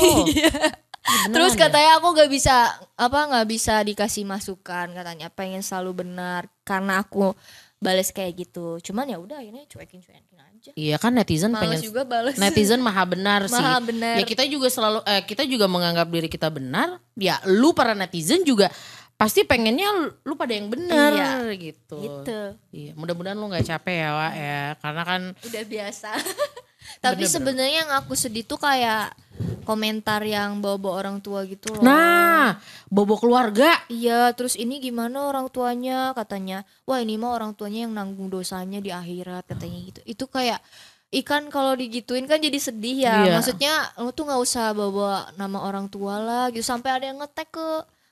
Speaker 1: Beneran ya?
Speaker 2: Terus
Speaker 1: deh.
Speaker 2: katanya aku gak bisa apa nggak bisa dikasih masukan katanya pengen selalu benar karena aku bales kayak gitu. Cuman ya udah akhirnya cuekin cuekin aja.
Speaker 1: Iya kan netizen pengen Nah,
Speaker 2: Males juga bales.
Speaker 1: netizen maha benar sih.
Speaker 2: Maha benar.
Speaker 1: Ya kita juga selalu eh, kita juga menganggap diri kita benar. Ya lu para netizen juga pasti pengennya lu- lu pada yang benar
Speaker 2: Iya.
Speaker 1: gitu.
Speaker 2: gitu.
Speaker 1: Iya, mudah-mudahan lu nggak capek ya, Wak ya. Karena kan
Speaker 2: Udah biasa. Tapi
Speaker 1: Bener-bener.
Speaker 2: sebenarnya yang aku sedih tuh kayak komentar yang bawa-bawa orang tua gitu loh.
Speaker 1: nah, bobo keluarga.
Speaker 2: Iya, terus ini gimana orang tuanya katanya. Wah, ini mah orang tuanya yang nanggung dosanya di akhirat katanya gitu. Itu kayak ikan kalau digituin kan jadi sedih ya.
Speaker 1: Iya.
Speaker 2: Maksudnya lu tuh nggak usah bawa nama orang tua lah gitu sampai ada yang ngetek ke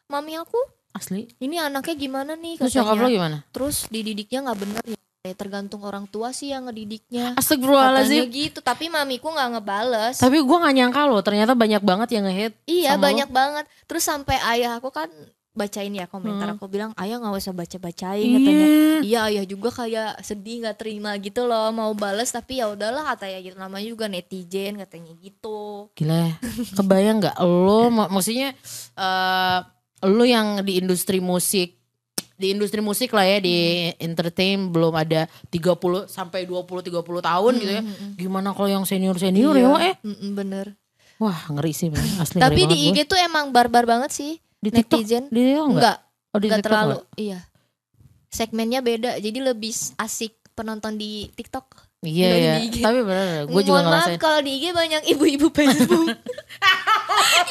Speaker 2: mami aku.
Speaker 1: Asli.
Speaker 2: Ini anaknya gimana nih
Speaker 1: Terus nyokap lu
Speaker 2: katanya.
Speaker 1: gimana?
Speaker 2: Terus dididiknya nggak bener ya. Kayak Tergantung orang tua sih yang ngedidiknya. Katanya
Speaker 1: Astagfirullahaladzim.
Speaker 2: gitu, tapi mamiku nggak ngebales.
Speaker 1: Tapi gua nggak nyangka loh, ternyata banyak banget yang nge-hate.
Speaker 2: Iya
Speaker 1: sama
Speaker 2: banyak banget. Terus sampai ayah aku kan bacain ya komentar
Speaker 1: Hmm.
Speaker 2: aku bilang ayah nggak usah baca bacain katanya.
Speaker 1: Iya.
Speaker 2: Iya ayah juga kayak sedih nggak terima gitu loh mau bales tapi ya udahlah katanya gitu namanya juga netizen katanya gitu.
Speaker 1: Gila ya. Kebayang nggak lo
Speaker 2: Iya.
Speaker 1: mak- maksudnya eh lo yang di industri musik di industri musik lah ya di
Speaker 2: Hmm.
Speaker 1: entertain belum ada 30 sampai 20 30 tahun gitu ya.
Speaker 2: Hmm,
Speaker 1: Gimana kalau yang senior-senior ya, Wak, eh?
Speaker 2: Iya.
Speaker 1: Iya,
Speaker 2: Mm-mm, bener.
Speaker 1: Wah, ngeri sih bener. asli.
Speaker 2: tapi
Speaker 1: ngeri
Speaker 2: di
Speaker 1: banget
Speaker 2: IG tuh emang barbar banget sih
Speaker 1: gua. di TikTok
Speaker 2: netizen.
Speaker 1: di TikTok enggak?
Speaker 2: Enggak,
Speaker 1: Oh, di
Speaker 2: enggak
Speaker 1: TikTok
Speaker 2: terlalu.
Speaker 1: nggak?
Speaker 2: Iya. segmennya beda jadi lebih asik penonton di TikTok
Speaker 1: Iya ya.
Speaker 2: Dibanding di IG.
Speaker 1: Tapi benar, gue juga
Speaker 2: Mohon maaf
Speaker 1: ngerasain.
Speaker 2: kalau di IG banyak ibu-ibu Facebook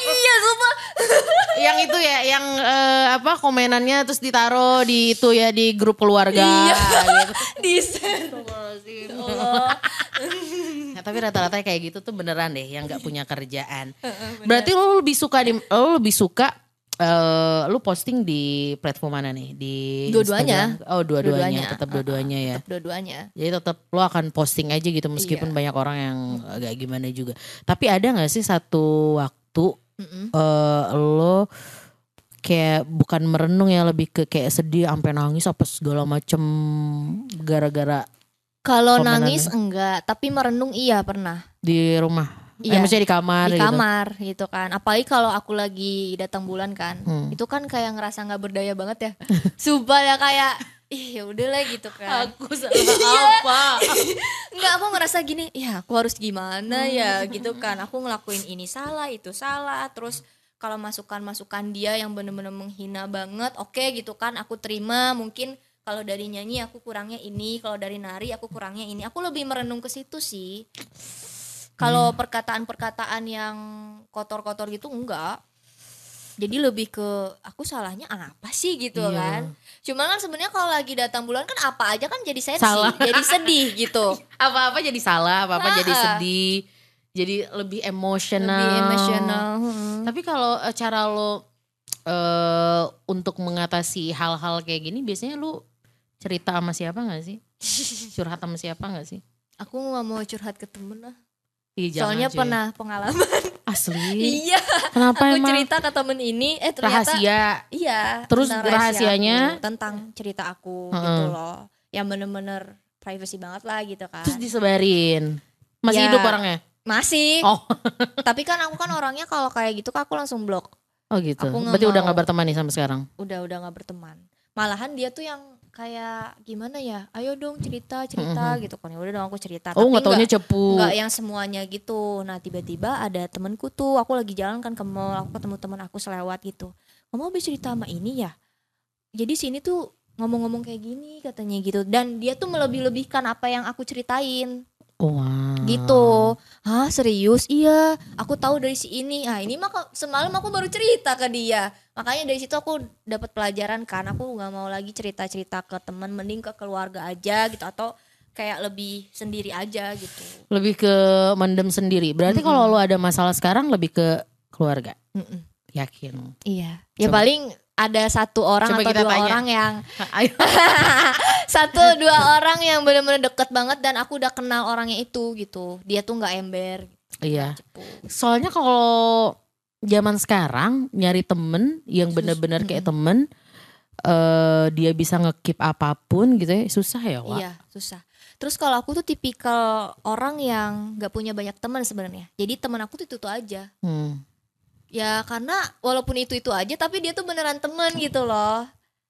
Speaker 2: iya sumpah
Speaker 1: yang itu ya, yang eh, apa komenannya terus ditaruh di itu ya di grup keluarga.
Speaker 2: Iya.
Speaker 1: gitu.
Speaker 2: di
Speaker 1: Nah, tapi rata-rata kayak gitu tuh beneran deh yang nggak punya kerjaan. Berarti lo lebih suka di, lo lebih suka eh, lu posting di platform mana nih? Di
Speaker 2: Dua-duanya.
Speaker 1: Instagram? Oh, dua-duanya,
Speaker 2: Dua-duanya.
Speaker 1: tetap dua-duanya ya.
Speaker 2: dua-duanya
Speaker 1: Jadi tetap lo akan posting aja gitu
Speaker 2: Iya.
Speaker 1: meskipun banyak orang yang agak gimana juga. Tapi ada nggak sih satu waktu eh, lo kayak bukan merenung ya lebih ke kayak sedih sampai nangis apa segala macem gara-gara
Speaker 2: kalau
Speaker 1: Komenannya.
Speaker 2: nangis enggak tapi merenung iya pernah
Speaker 1: di rumah? Eh,
Speaker 2: Iya.
Speaker 1: maksudnya di kamar
Speaker 2: di
Speaker 1: gitu.
Speaker 2: kamar gitu kan apalagi kalau aku lagi datang bulan kan
Speaker 1: Hmm.
Speaker 2: itu kan kayak ngerasa nggak berdaya banget ya sumpah ya kayak ih ya udahlah gitu kan Iya.
Speaker 1: Aku salah apa?
Speaker 2: Enggak, aku ngerasa gini, ya aku harus gimana ya gitu kan. Aku ngelakuin ini salah, itu salah. Terus kalau masukan-masukan dia yang bener-bener menghina banget, oke gitu kan, aku terima. Mungkin kalau dari nyanyi aku kurangnya ini, kalau dari nari aku kurangnya ini. Aku lebih merenung ke situ sih.
Speaker 1: Hmm.
Speaker 2: Kalau perkataan-perkataan yang kotor-kotor gitu enggak. Jadi lebih ke aku salahnya apa sih gitu
Speaker 1: Iya.
Speaker 2: kan. Cuman kan sebenarnya kalau lagi datang bulan kan apa aja kan jadi sensi,
Speaker 1: Salah.
Speaker 2: jadi sedih gitu.
Speaker 1: Apa-apa jadi salah, apa-apa jadi
Speaker 2: Ah.
Speaker 1: sedih. Jadi Nah, lebih emosional.
Speaker 2: Lebih emosional. hmm.
Speaker 1: Tapi kalau eh, cara lo eh untuk mengatasi hal-hal kayak gini biasanya lu cerita sama siapa nggak sih? Curhat sama siapa nggak sih?
Speaker 2: Aku nggak mau curhat ke temen lah.
Speaker 1: Ih, jangan,
Speaker 2: Soalnya
Speaker 1: cuy.
Speaker 2: pernah pengalaman.
Speaker 1: asli.
Speaker 2: iya,
Speaker 1: Kenapa
Speaker 2: aku
Speaker 1: emang
Speaker 2: cerita ke temen ini, eh ternyata
Speaker 1: rahasia?
Speaker 2: iya.
Speaker 1: Terus
Speaker 2: tentang
Speaker 1: rahasianya? Hmm.
Speaker 2: aku, tentang cerita aku
Speaker 1: Heeh.
Speaker 2: gitu loh. Yang bener-bener privacy banget lah gitu kan.
Speaker 1: Terus disebarin. Masih
Speaker 2: Ya.
Speaker 1: hidup orangnya?
Speaker 2: Masih,
Speaker 1: Oh,
Speaker 2: tapi kan aku kan orangnya kalau kayak gitu kan aku langsung blok.
Speaker 1: oh gitu.
Speaker 2: Aku nggak
Speaker 1: Berarti udah
Speaker 2: mau.
Speaker 1: nggak berteman nih sampai sekarang?
Speaker 2: udah udah nggak berteman malahan dia tuh yang kayak gimana ya ayo dong cerita cerita gitu kan ya udah dong aku cerita
Speaker 1: Mm-hmm. oh nggak taunya
Speaker 2: nggak-
Speaker 1: cepu.
Speaker 2: nggak ya. yang semuanya gitu nah tiba-tiba ada temenku tuh aku lagi jalan kan ke mall aku ketemu teman aku selewat gitu kamu habis cerita sama ini ya jadi sini tuh ngomong-ngomong kayak gini katanya gitu dan dia tuh melebih-lebihkan apa yang aku ceritain
Speaker 1: Wah.
Speaker 2: gitu ah serius iya aku tahu dari si ini ah ini mah kok- semalam aku baru cerita ke dia makanya dari situ aku dapat pelajaran kan aku nggak mau lagi cerita cerita ke teman mending ke keluarga aja gitu atau kayak lebih sendiri aja gitu
Speaker 1: Lebih ke mendem sendiri. Berarti kalau lo ada masalah sekarang lebih ke keluarga.
Speaker 2: Mm-mm.
Speaker 1: Yakin.
Speaker 2: iya ya
Speaker 1: Coba.
Speaker 2: paling ada satu orang
Speaker 1: Coba
Speaker 2: atau
Speaker 1: kita
Speaker 2: dua
Speaker 1: tanya.
Speaker 2: orang yang
Speaker 1: Ayo.
Speaker 2: satu dua orang yang benar-benar deket banget dan aku udah kenal orangnya itu gitu dia tuh nggak ember
Speaker 1: Iya.
Speaker 2: cepu
Speaker 1: Soalnya kalau zaman sekarang nyari temen yang bener-bener kayak temen eh dia bisa ngekip apapun gitu ya susah ya Wak.
Speaker 2: Iya, susah. Terus kalau aku tuh tipikal orang yang nggak punya banyak teman sebenarnya. Jadi teman aku tuh itu aja.
Speaker 1: Hmm.
Speaker 2: Ya karena walaupun itu itu aja, tapi dia tuh beneran teman gitu loh.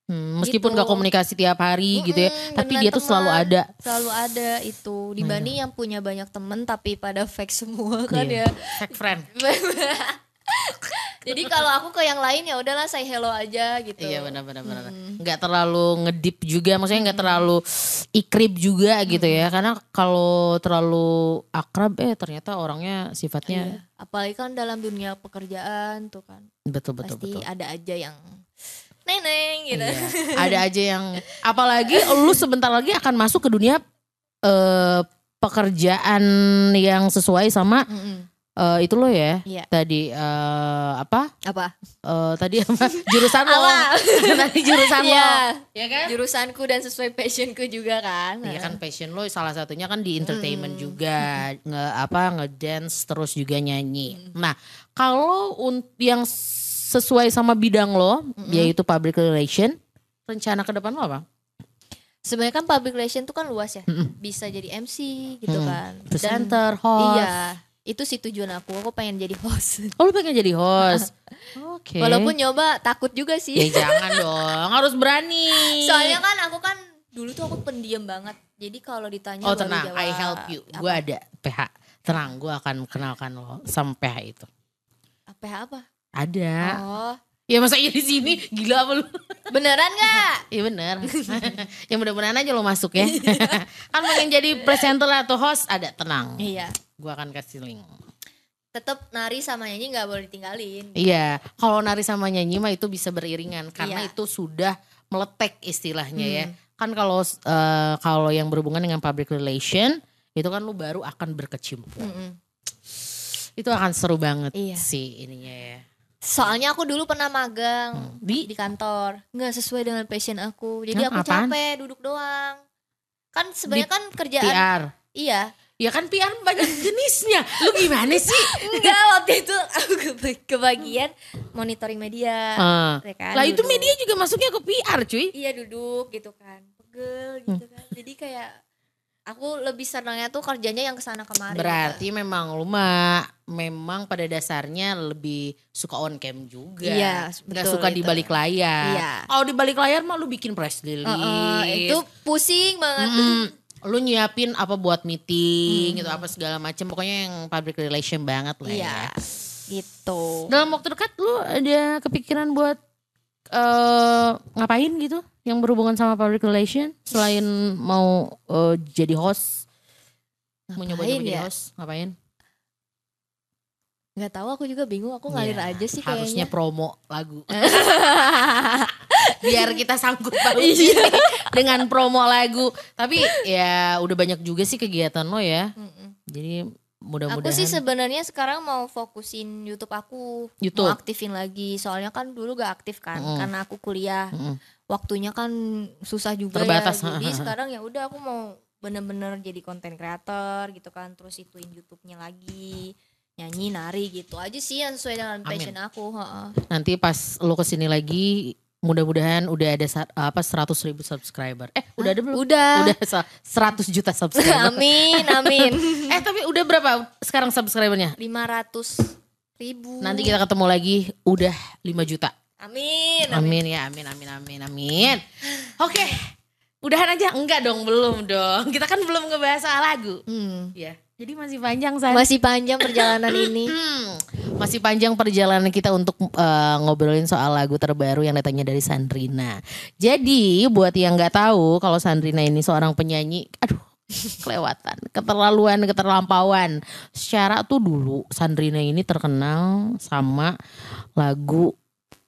Speaker 1: Hmm, meskipun
Speaker 2: Gitu.
Speaker 1: nggak komunikasi tiap hari gitu ya,
Speaker 2: Mm-mm,
Speaker 1: tapi
Speaker 2: beneran
Speaker 1: dia tuh
Speaker 2: teman.
Speaker 1: selalu ada. Nah,
Speaker 2: Selalu ada itu dibanding yang punya banyak teman tapi pada fake semua kan
Speaker 1: Iya.
Speaker 2: ya.
Speaker 1: Fake friend.
Speaker 2: Jadi kalau aku ke yang lain ya udahlah saya hello aja gitu. Hmm.
Speaker 1: Iya benar-benar benar. Nggak terlalu ngedip juga, maksudnya nggak terlalu ikrip juga gitu ya,
Speaker 2: Hmm.
Speaker 1: karena kalau terlalu akrab eh ternyata orangnya sifatnya
Speaker 2: Iya. Apalagi kan dalam dunia pekerjaan tuh kan
Speaker 1: betul betul
Speaker 2: pasti
Speaker 1: betul.
Speaker 2: ada aja yang neneng gitu.
Speaker 1: Iya. Ada aja yang apalagi lu sebentar lagi akan masuk ke dunia eh, pekerjaan yang sesuai sama
Speaker 2: Mm-mm.
Speaker 1: eh, itu lo ya.
Speaker 2: Iya.
Speaker 1: Tadi eh, apa?
Speaker 2: Apa?
Speaker 1: Eh, tadi apa? jurusan lo.
Speaker 2: Apa?
Speaker 1: tadi jurusan lo.
Speaker 2: Iya.
Speaker 1: Iya kan?
Speaker 2: jurusanku dan sesuai passionku juga kan.
Speaker 1: Iya kan passion lo salah satunya kan di entertainment juga nge apa ngedance terus juga nyanyi. Nah kalau un- yang sesuai sama bidang lo yaitu public relation rencana ke depan lo apa?
Speaker 2: Sebenarnya kan public relation tuh kan luas ya.
Speaker 1: Mm-mm.
Speaker 2: Bisa jadi MC gitu
Speaker 1: Mm.
Speaker 2: kan.
Speaker 1: Presenter, host.
Speaker 2: iya, itu sih tujuan aku. Aku pengen jadi host.
Speaker 1: Oh lu pengen jadi host? Oke.
Speaker 2: Walaupun nyoba takut
Speaker 1: ya
Speaker 2: juga sih.
Speaker 1: jangan dong harus berani.
Speaker 2: Soalnya kan aku kan dulu tuh aku pendiam banget. Jadi kalau ditanya
Speaker 1: Oh
Speaker 2: baru
Speaker 1: tenang,
Speaker 2: jawab.
Speaker 1: I help you.
Speaker 2: Apa?
Speaker 1: Gue ada PH. Tenang, gue akan kenalkan lo sama PH itu.
Speaker 2: Apa apa?
Speaker 1: Ada.
Speaker 2: Oh,
Speaker 1: Ya masa iya di sini gila apa lu?
Speaker 2: Beneran nggak?
Speaker 1: Iya bener. ya mudah-mudahan aja lo masuk ya. kan pengen jadi presenter atau host ada tenang.
Speaker 2: Iya.
Speaker 1: Gua akan kasih link.
Speaker 2: Tetap nari sama nyanyi nggak boleh ditinggalin.
Speaker 1: Iya, kalau nari sama nyanyi mah itu bisa beriringan karena
Speaker 2: Iya.
Speaker 1: itu sudah meletek istilahnya ya.
Speaker 2: Hmm.
Speaker 1: Kan kalau eh, kalau yang berhubungan dengan public relation itu kan lu baru akan berkecimpung.
Speaker 2: Mm-mm.
Speaker 1: Itu akan seru banget
Speaker 2: Hmm. Iya.
Speaker 1: sih ininya ya. Hmm.
Speaker 2: Soalnya aku dulu pernah magang
Speaker 1: Di
Speaker 2: di kantor, nggak sesuai dengan passion aku. Jadi
Speaker 1: Hah,
Speaker 2: aku
Speaker 1: apaan?
Speaker 2: capek duduk doang. Kan sebenarnya kan kerjaan
Speaker 1: PR.
Speaker 2: iya.
Speaker 1: Ya kan PR banyak jenisnya. Lu gimana sih?
Speaker 2: Enggak waktu itu aku keba- kebagian monitoring media.
Speaker 1: Eh,
Speaker 2: ya kan,
Speaker 1: Lah itu
Speaker 2: duduk.
Speaker 1: media juga masuknya ke PR cuy.
Speaker 2: Iya duduk gitu kan, pegel gitu
Speaker 1: Hmm.
Speaker 2: kan. Jadi kayak aku lebih senangnya tuh kerjanya yang kesana kemari.
Speaker 1: Berarti memang lu mah memang pada dasarnya lebih suka on cam juga.
Speaker 2: Iya,
Speaker 1: Nggak
Speaker 2: betul
Speaker 1: suka
Speaker 2: itu.
Speaker 1: di balik layar.
Speaker 2: Iya.
Speaker 1: Kalau di balik layar mah lu bikin press release.
Speaker 2: Heeh, itu pusing banget.
Speaker 1: Mm-mm. lu nyiapin apa buat meeting gitu apa segala macem pokoknya yang public relation banget lah
Speaker 2: Iya.
Speaker 1: ya.
Speaker 2: Gitu.
Speaker 1: Dalam waktu dekat lu ada kepikiran buat eh ngapain gitu yang berhubungan sama public relation selain mau eh, jadi host mau nyoba-nyoba
Speaker 2: Ngapain
Speaker 1: jadi
Speaker 2: ya?
Speaker 1: host ngapain?
Speaker 2: Nggak tahu aku juga bingung, aku ngalir
Speaker 1: Iya,
Speaker 2: aja sih
Speaker 1: harusnya
Speaker 2: kayaknya. Eh.
Speaker 1: promo lagu biar kita sanggup banget
Speaker 2: Iya.
Speaker 1: dengan promo lagu tapi ya udah banyak juga sih kegiatan lo ya
Speaker 2: Mm-mm.
Speaker 1: jadi
Speaker 2: Aku sih
Speaker 1: mudah-mudahan
Speaker 2: sebenarnya sekarang mau fokusin YouTube aku,
Speaker 1: YouTube.
Speaker 2: mau aktifin lagi. Soalnya kan dulu gak aktif kan,
Speaker 1: Mm.
Speaker 2: karena aku kuliah.
Speaker 1: Mm-mm.
Speaker 2: Waktunya kan susah juga
Speaker 1: Terbatas,
Speaker 2: ya. Jadi
Speaker 1: ha, ha, ha.
Speaker 2: sekarang ya udah aku mau bener-bener jadi konten kreator gitu kan, terus ituin YouTube-nya lagi, nyanyi, nari gitu aja sih yang sesuai dengan passion aku. heeh.
Speaker 1: nanti pas lo kesini lagi mudah-mudahan udah ada sa- apa 100 ribu subscriber eh udah ada belum
Speaker 2: Udah.
Speaker 1: udah sa- 100 juta subscriber
Speaker 2: amin, amin.
Speaker 1: eh tapi udah berapa sekarang subscribernya
Speaker 2: 500 ribu.
Speaker 1: nanti kita ketemu lagi udah 5 juta
Speaker 2: Amin.
Speaker 1: Amin ya, amin, amin, amin, amin. Oke, udahan aja. Enggak dong, belum dong. Kita kan belum ngebahas soal lagu.
Speaker 2: Hmm.
Speaker 1: Ya, jadi masih panjang San.
Speaker 2: Masih panjang perjalanan ini.
Speaker 1: Hmm, masih panjang perjalanan kita untuk eh, ngobrolin soal lagu terbaru yang datangnya dari Sandrina. Jadi buat yang nggak tahu kalau Sandrina ini seorang penyanyi, aduh kelewatan, keterlaluan, keterlampauan. Secara tuh dulu Sandrina ini terkenal sama lagu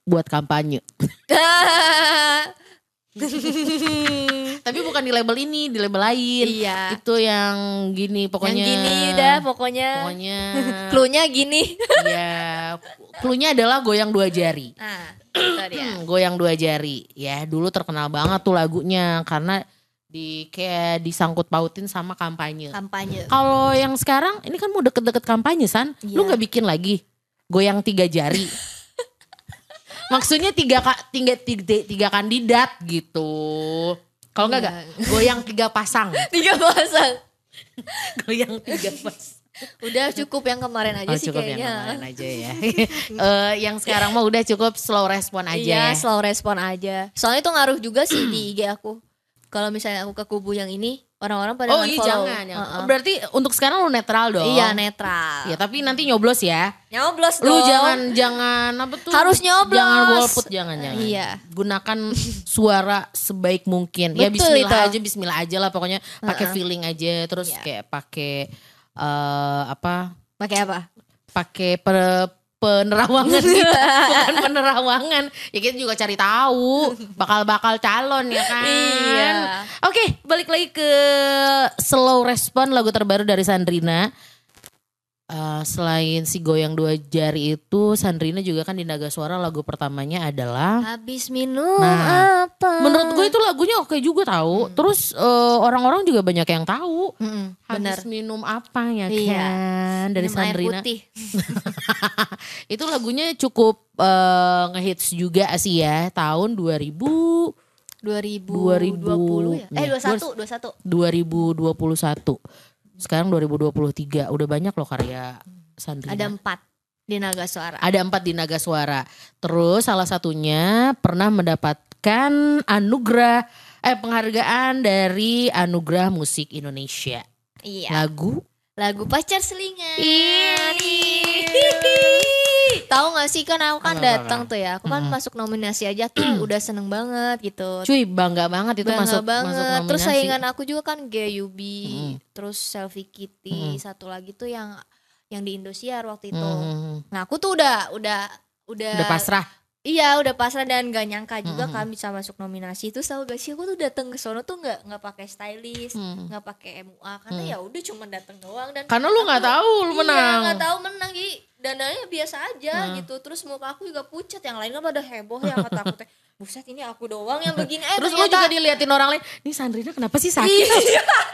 Speaker 1: buat kampanye. Iya. Tapi bukan di label ini, di label lain.
Speaker 2: iya.
Speaker 1: Itu yang gini pokoknya.
Speaker 2: Yang gini dah pokoknya.
Speaker 1: Pokoknya.
Speaker 2: Cluenya gini.
Speaker 1: ya. Cluenya adalah goyang dua jari.
Speaker 2: Nah, itu dia.
Speaker 1: Hmm, goyang dua jari. Ya dulu terkenal banget tuh lagunya karena di kayak disangkut pautin sama kampanye.
Speaker 2: Kampanye.
Speaker 1: Kalau yang sekarang ini kan mau deket-deket kampanye san, lu
Speaker 2: Iya.
Speaker 1: nggak bikin lagi goyang tiga jari. Maksudnya tiga, ka- tiga, tiga, tiga kandidat gitu. Kalau nggak
Speaker 2: Iya.
Speaker 1: nggak goyang tiga pasang,
Speaker 2: Tiga pasang.
Speaker 1: goyang tiga pasang.
Speaker 2: Udah cukup yang kemarin
Speaker 1: Oh,
Speaker 2: aja sih
Speaker 1: cukup yang
Speaker 2: kayaknya.
Speaker 1: kemarin aja ya. Eh, yang sekarang mah udah cukup slow respon aja ya.
Speaker 2: iya, slow respon aja. Soalnya itu ngaruh juga sih di IG aku. Kalau misalnya aku ke kubu yang ini, orang-orang pada
Speaker 1: Oh iya
Speaker 2: unfollow.
Speaker 1: jangan. jangan.
Speaker 2: Heeh.
Speaker 1: Berarti untuk sekarang lu netral dong.
Speaker 2: Iya, netral.
Speaker 1: Ya tapi nanti nyoblos ya.
Speaker 2: Nyoblos
Speaker 1: Lu
Speaker 2: dong.
Speaker 1: jangan jangan apa tuh?
Speaker 2: Harus nyoblos.
Speaker 1: Jangan golput jangan jangan.
Speaker 2: Iya.
Speaker 1: Gunakan suara sebaik mungkin. ya
Speaker 2: Betul
Speaker 1: bismillah
Speaker 2: itu.
Speaker 1: aja bismillah aja lah pokoknya pakai feeling aja terus
Speaker 2: Iya.
Speaker 1: kayak pakai eh apa?
Speaker 2: Pakai apa?
Speaker 1: Pakai per- penerawangan gitu. Bukan penerawangan. Ya kita juga cari tahu bakal-bakal calon ya kan.
Speaker 2: Iya.
Speaker 1: Oke, balik lagi ke slow respon lagu terbaru dari Sandrina. Eh, selain si goyang dua jari itu, Sandrina juga kan di Naga Suara lagu pertamanya adalah.
Speaker 2: Habis minum
Speaker 1: Nah,
Speaker 2: apa?
Speaker 1: Menurut gue itu lagunya oke juga tahu.
Speaker 2: Hmm.
Speaker 1: Terus eh, orang-orang juga banyak yang tahu.
Speaker 2: Mm-mm, benar.
Speaker 1: Habis minum apa ya kan
Speaker 2: Iya.
Speaker 1: dari
Speaker 2: Minum air
Speaker 1: Sandrina.
Speaker 2: putih.
Speaker 1: itu lagunya cukup eh, ngehits juga sih ya tahun 2000
Speaker 2: 2020 ya? Eh
Speaker 1: Iya.
Speaker 2: 21, 21.
Speaker 1: 2021. Sekarang 2023 udah banyak loh karya Sandrina.
Speaker 2: Ada 4 di Naga Suara.
Speaker 1: Ada empat di Naga Suara. Terus salah satunya pernah mendapatkan anugerah eh penghargaan dari Anugerah Musik Indonesia.
Speaker 2: Iya.
Speaker 1: Lagu
Speaker 2: Lagu pacar selingan.
Speaker 1: ini.
Speaker 2: Hihi. Tahu nggak sih kan aku
Speaker 1: Apa,
Speaker 2: kan
Speaker 1: apa,
Speaker 2: datang tuh ya. Aku kan masuk nominasi aja tuh udah seneng banget gitu.
Speaker 1: Cuy bangga banget itu
Speaker 2: Bangga
Speaker 1: masuk
Speaker 2: banget.
Speaker 1: masuk nominasi.
Speaker 2: Terus saingan aku juga kan GUB,
Speaker 1: Mm.
Speaker 2: terus Selfie Kitty, satu lagi tuh yang yang di Indosiar waktu itu.
Speaker 1: Hmm,
Speaker 2: Nah, aku tuh udah udah udah,
Speaker 1: udah pasrah.
Speaker 2: Iya udah pasrah dan gak nyangka juga
Speaker 1: Mm-mm.
Speaker 2: kan bisa masuk nominasi itu tahu gak sih aku tuh datang ke sono tuh nggak nggak pakai stylist
Speaker 1: Mm.
Speaker 2: nggak pakai MUA karena
Speaker 1: Mm.
Speaker 2: ya udah cuma datang doang dan
Speaker 1: Karena lu nggak tahu lu menang.
Speaker 2: Iya, nggak tahu menang jadi dananya biasa aja
Speaker 1: Nah.
Speaker 2: gitu terus muka aku juga pucat yang lain kan pada heboh ya kata aku teh buset ini aku doang yang begini eh
Speaker 1: Terus lu
Speaker 2: ternyata-
Speaker 1: juga diliatin orang lain, nih Sandrina kenapa sih sakit?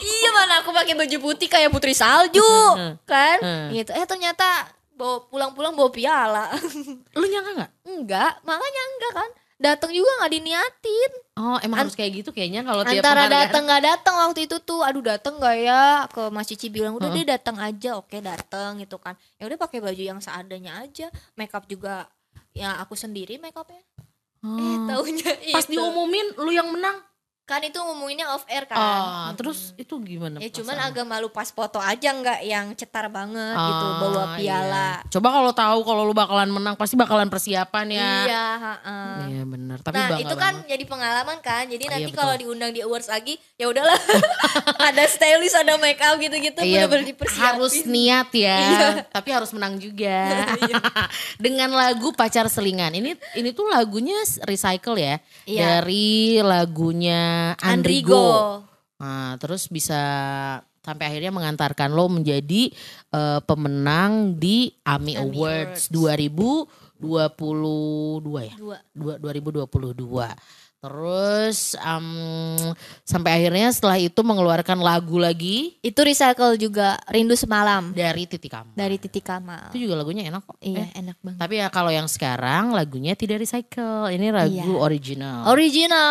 Speaker 2: Iya. iya mana aku pakai baju putih kayak putri salju
Speaker 1: Hmm,
Speaker 2: kan
Speaker 1: Heeh.
Speaker 2: gitu eh ternyata bawa pulang-pulang bawa piala
Speaker 1: Lu nyangka nggak?
Speaker 2: enggak makanya enggak kan datang juga nggak diniatin
Speaker 1: Oh emang harus kayak gitu kayaknya kalau tiap
Speaker 2: antara
Speaker 1: penghargaan.
Speaker 2: datang nggak datang waktu itu tuh aduh datang nggak ya ke Mas Cici bilang
Speaker 1: Hmm.
Speaker 2: udah deh datang aja oke datang gitu kan ya udah pakai baju yang seadanya aja makeup juga ya aku sendiri makeupnya eh
Speaker 1: Hmm.
Speaker 2: taunya
Speaker 1: Pas
Speaker 2: itu.
Speaker 1: diumumin lu yang menang.
Speaker 2: kan itu ngomonginnya off air kan
Speaker 1: Oh,
Speaker 2: Mm-mm.
Speaker 1: terus itu gimana?
Speaker 2: ya cuman
Speaker 1: perasaan?
Speaker 2: agak malu pas foto aja nggak yang cetar banget
Speaker 1: Ah,
Speaker 2: gitu bawa
Speaker 1: iya.
Speaker 2: piala
Speaker 1: Coba kalau tahu kalau lu bakalan menang pasti bakalan persiapan ya.
Speaker 2: iya ha-ha.
Speaker 1: Iya benar. Tapi
Speaker 2: nah
Speaker 1: bangga
Speaker 2: itu kan
Speaker 1: banget.
Speaker 2: jadi pengalaman kan jadi
Speaker 1: Iya,
Speaker 2: nanti
Speaker 1: betul.
Speaker 2: kalau diundang di awards lagi ya udahlah ada stylist ada make up gitu gitu
Speaker 1: Iya,
Speaker 2: bener-bener dipersiapin Iya.
Speaker 1: harus niat ya, tapi harus menang juga. Dengan lagu pacar selingan ini, ini tuh lagunya recycle ya
Speaker 2: Iya.
Speaker 1: dari lagunya Andrigo.
Speaker 2: Andrigo
Speaker 1: Nah, terus bisa sampai akhirnya mengantarkan lo menjadi eh, pemenang di AMI,
Speaker 2: AMI
Speaker 1: Awards,
Speaker 2: Awards.
Speaker 1: 2022 ya.
Speaker 2: dua
Speaker 1: Dua- 2022. Terus em, sampai akhirnya setelah itu mengeluarkan lagu lagi
Speaker 2: itu recycle juga rindu semalam
Speaker 1: dari Titik Kamu.
Speaker 2: dari titik kamal
Speaker 1: Itu juga lagunya enak kok.
Speaker 2: iya
Speaker 1: Eh,
Speaker 2: enak banget
Speaker 1: tapi ya kalau yang sekarang lagunya tidak recycle. Ini lagu
Speaker 2: Iya.
Speaker 1: original.
Speaker 2: original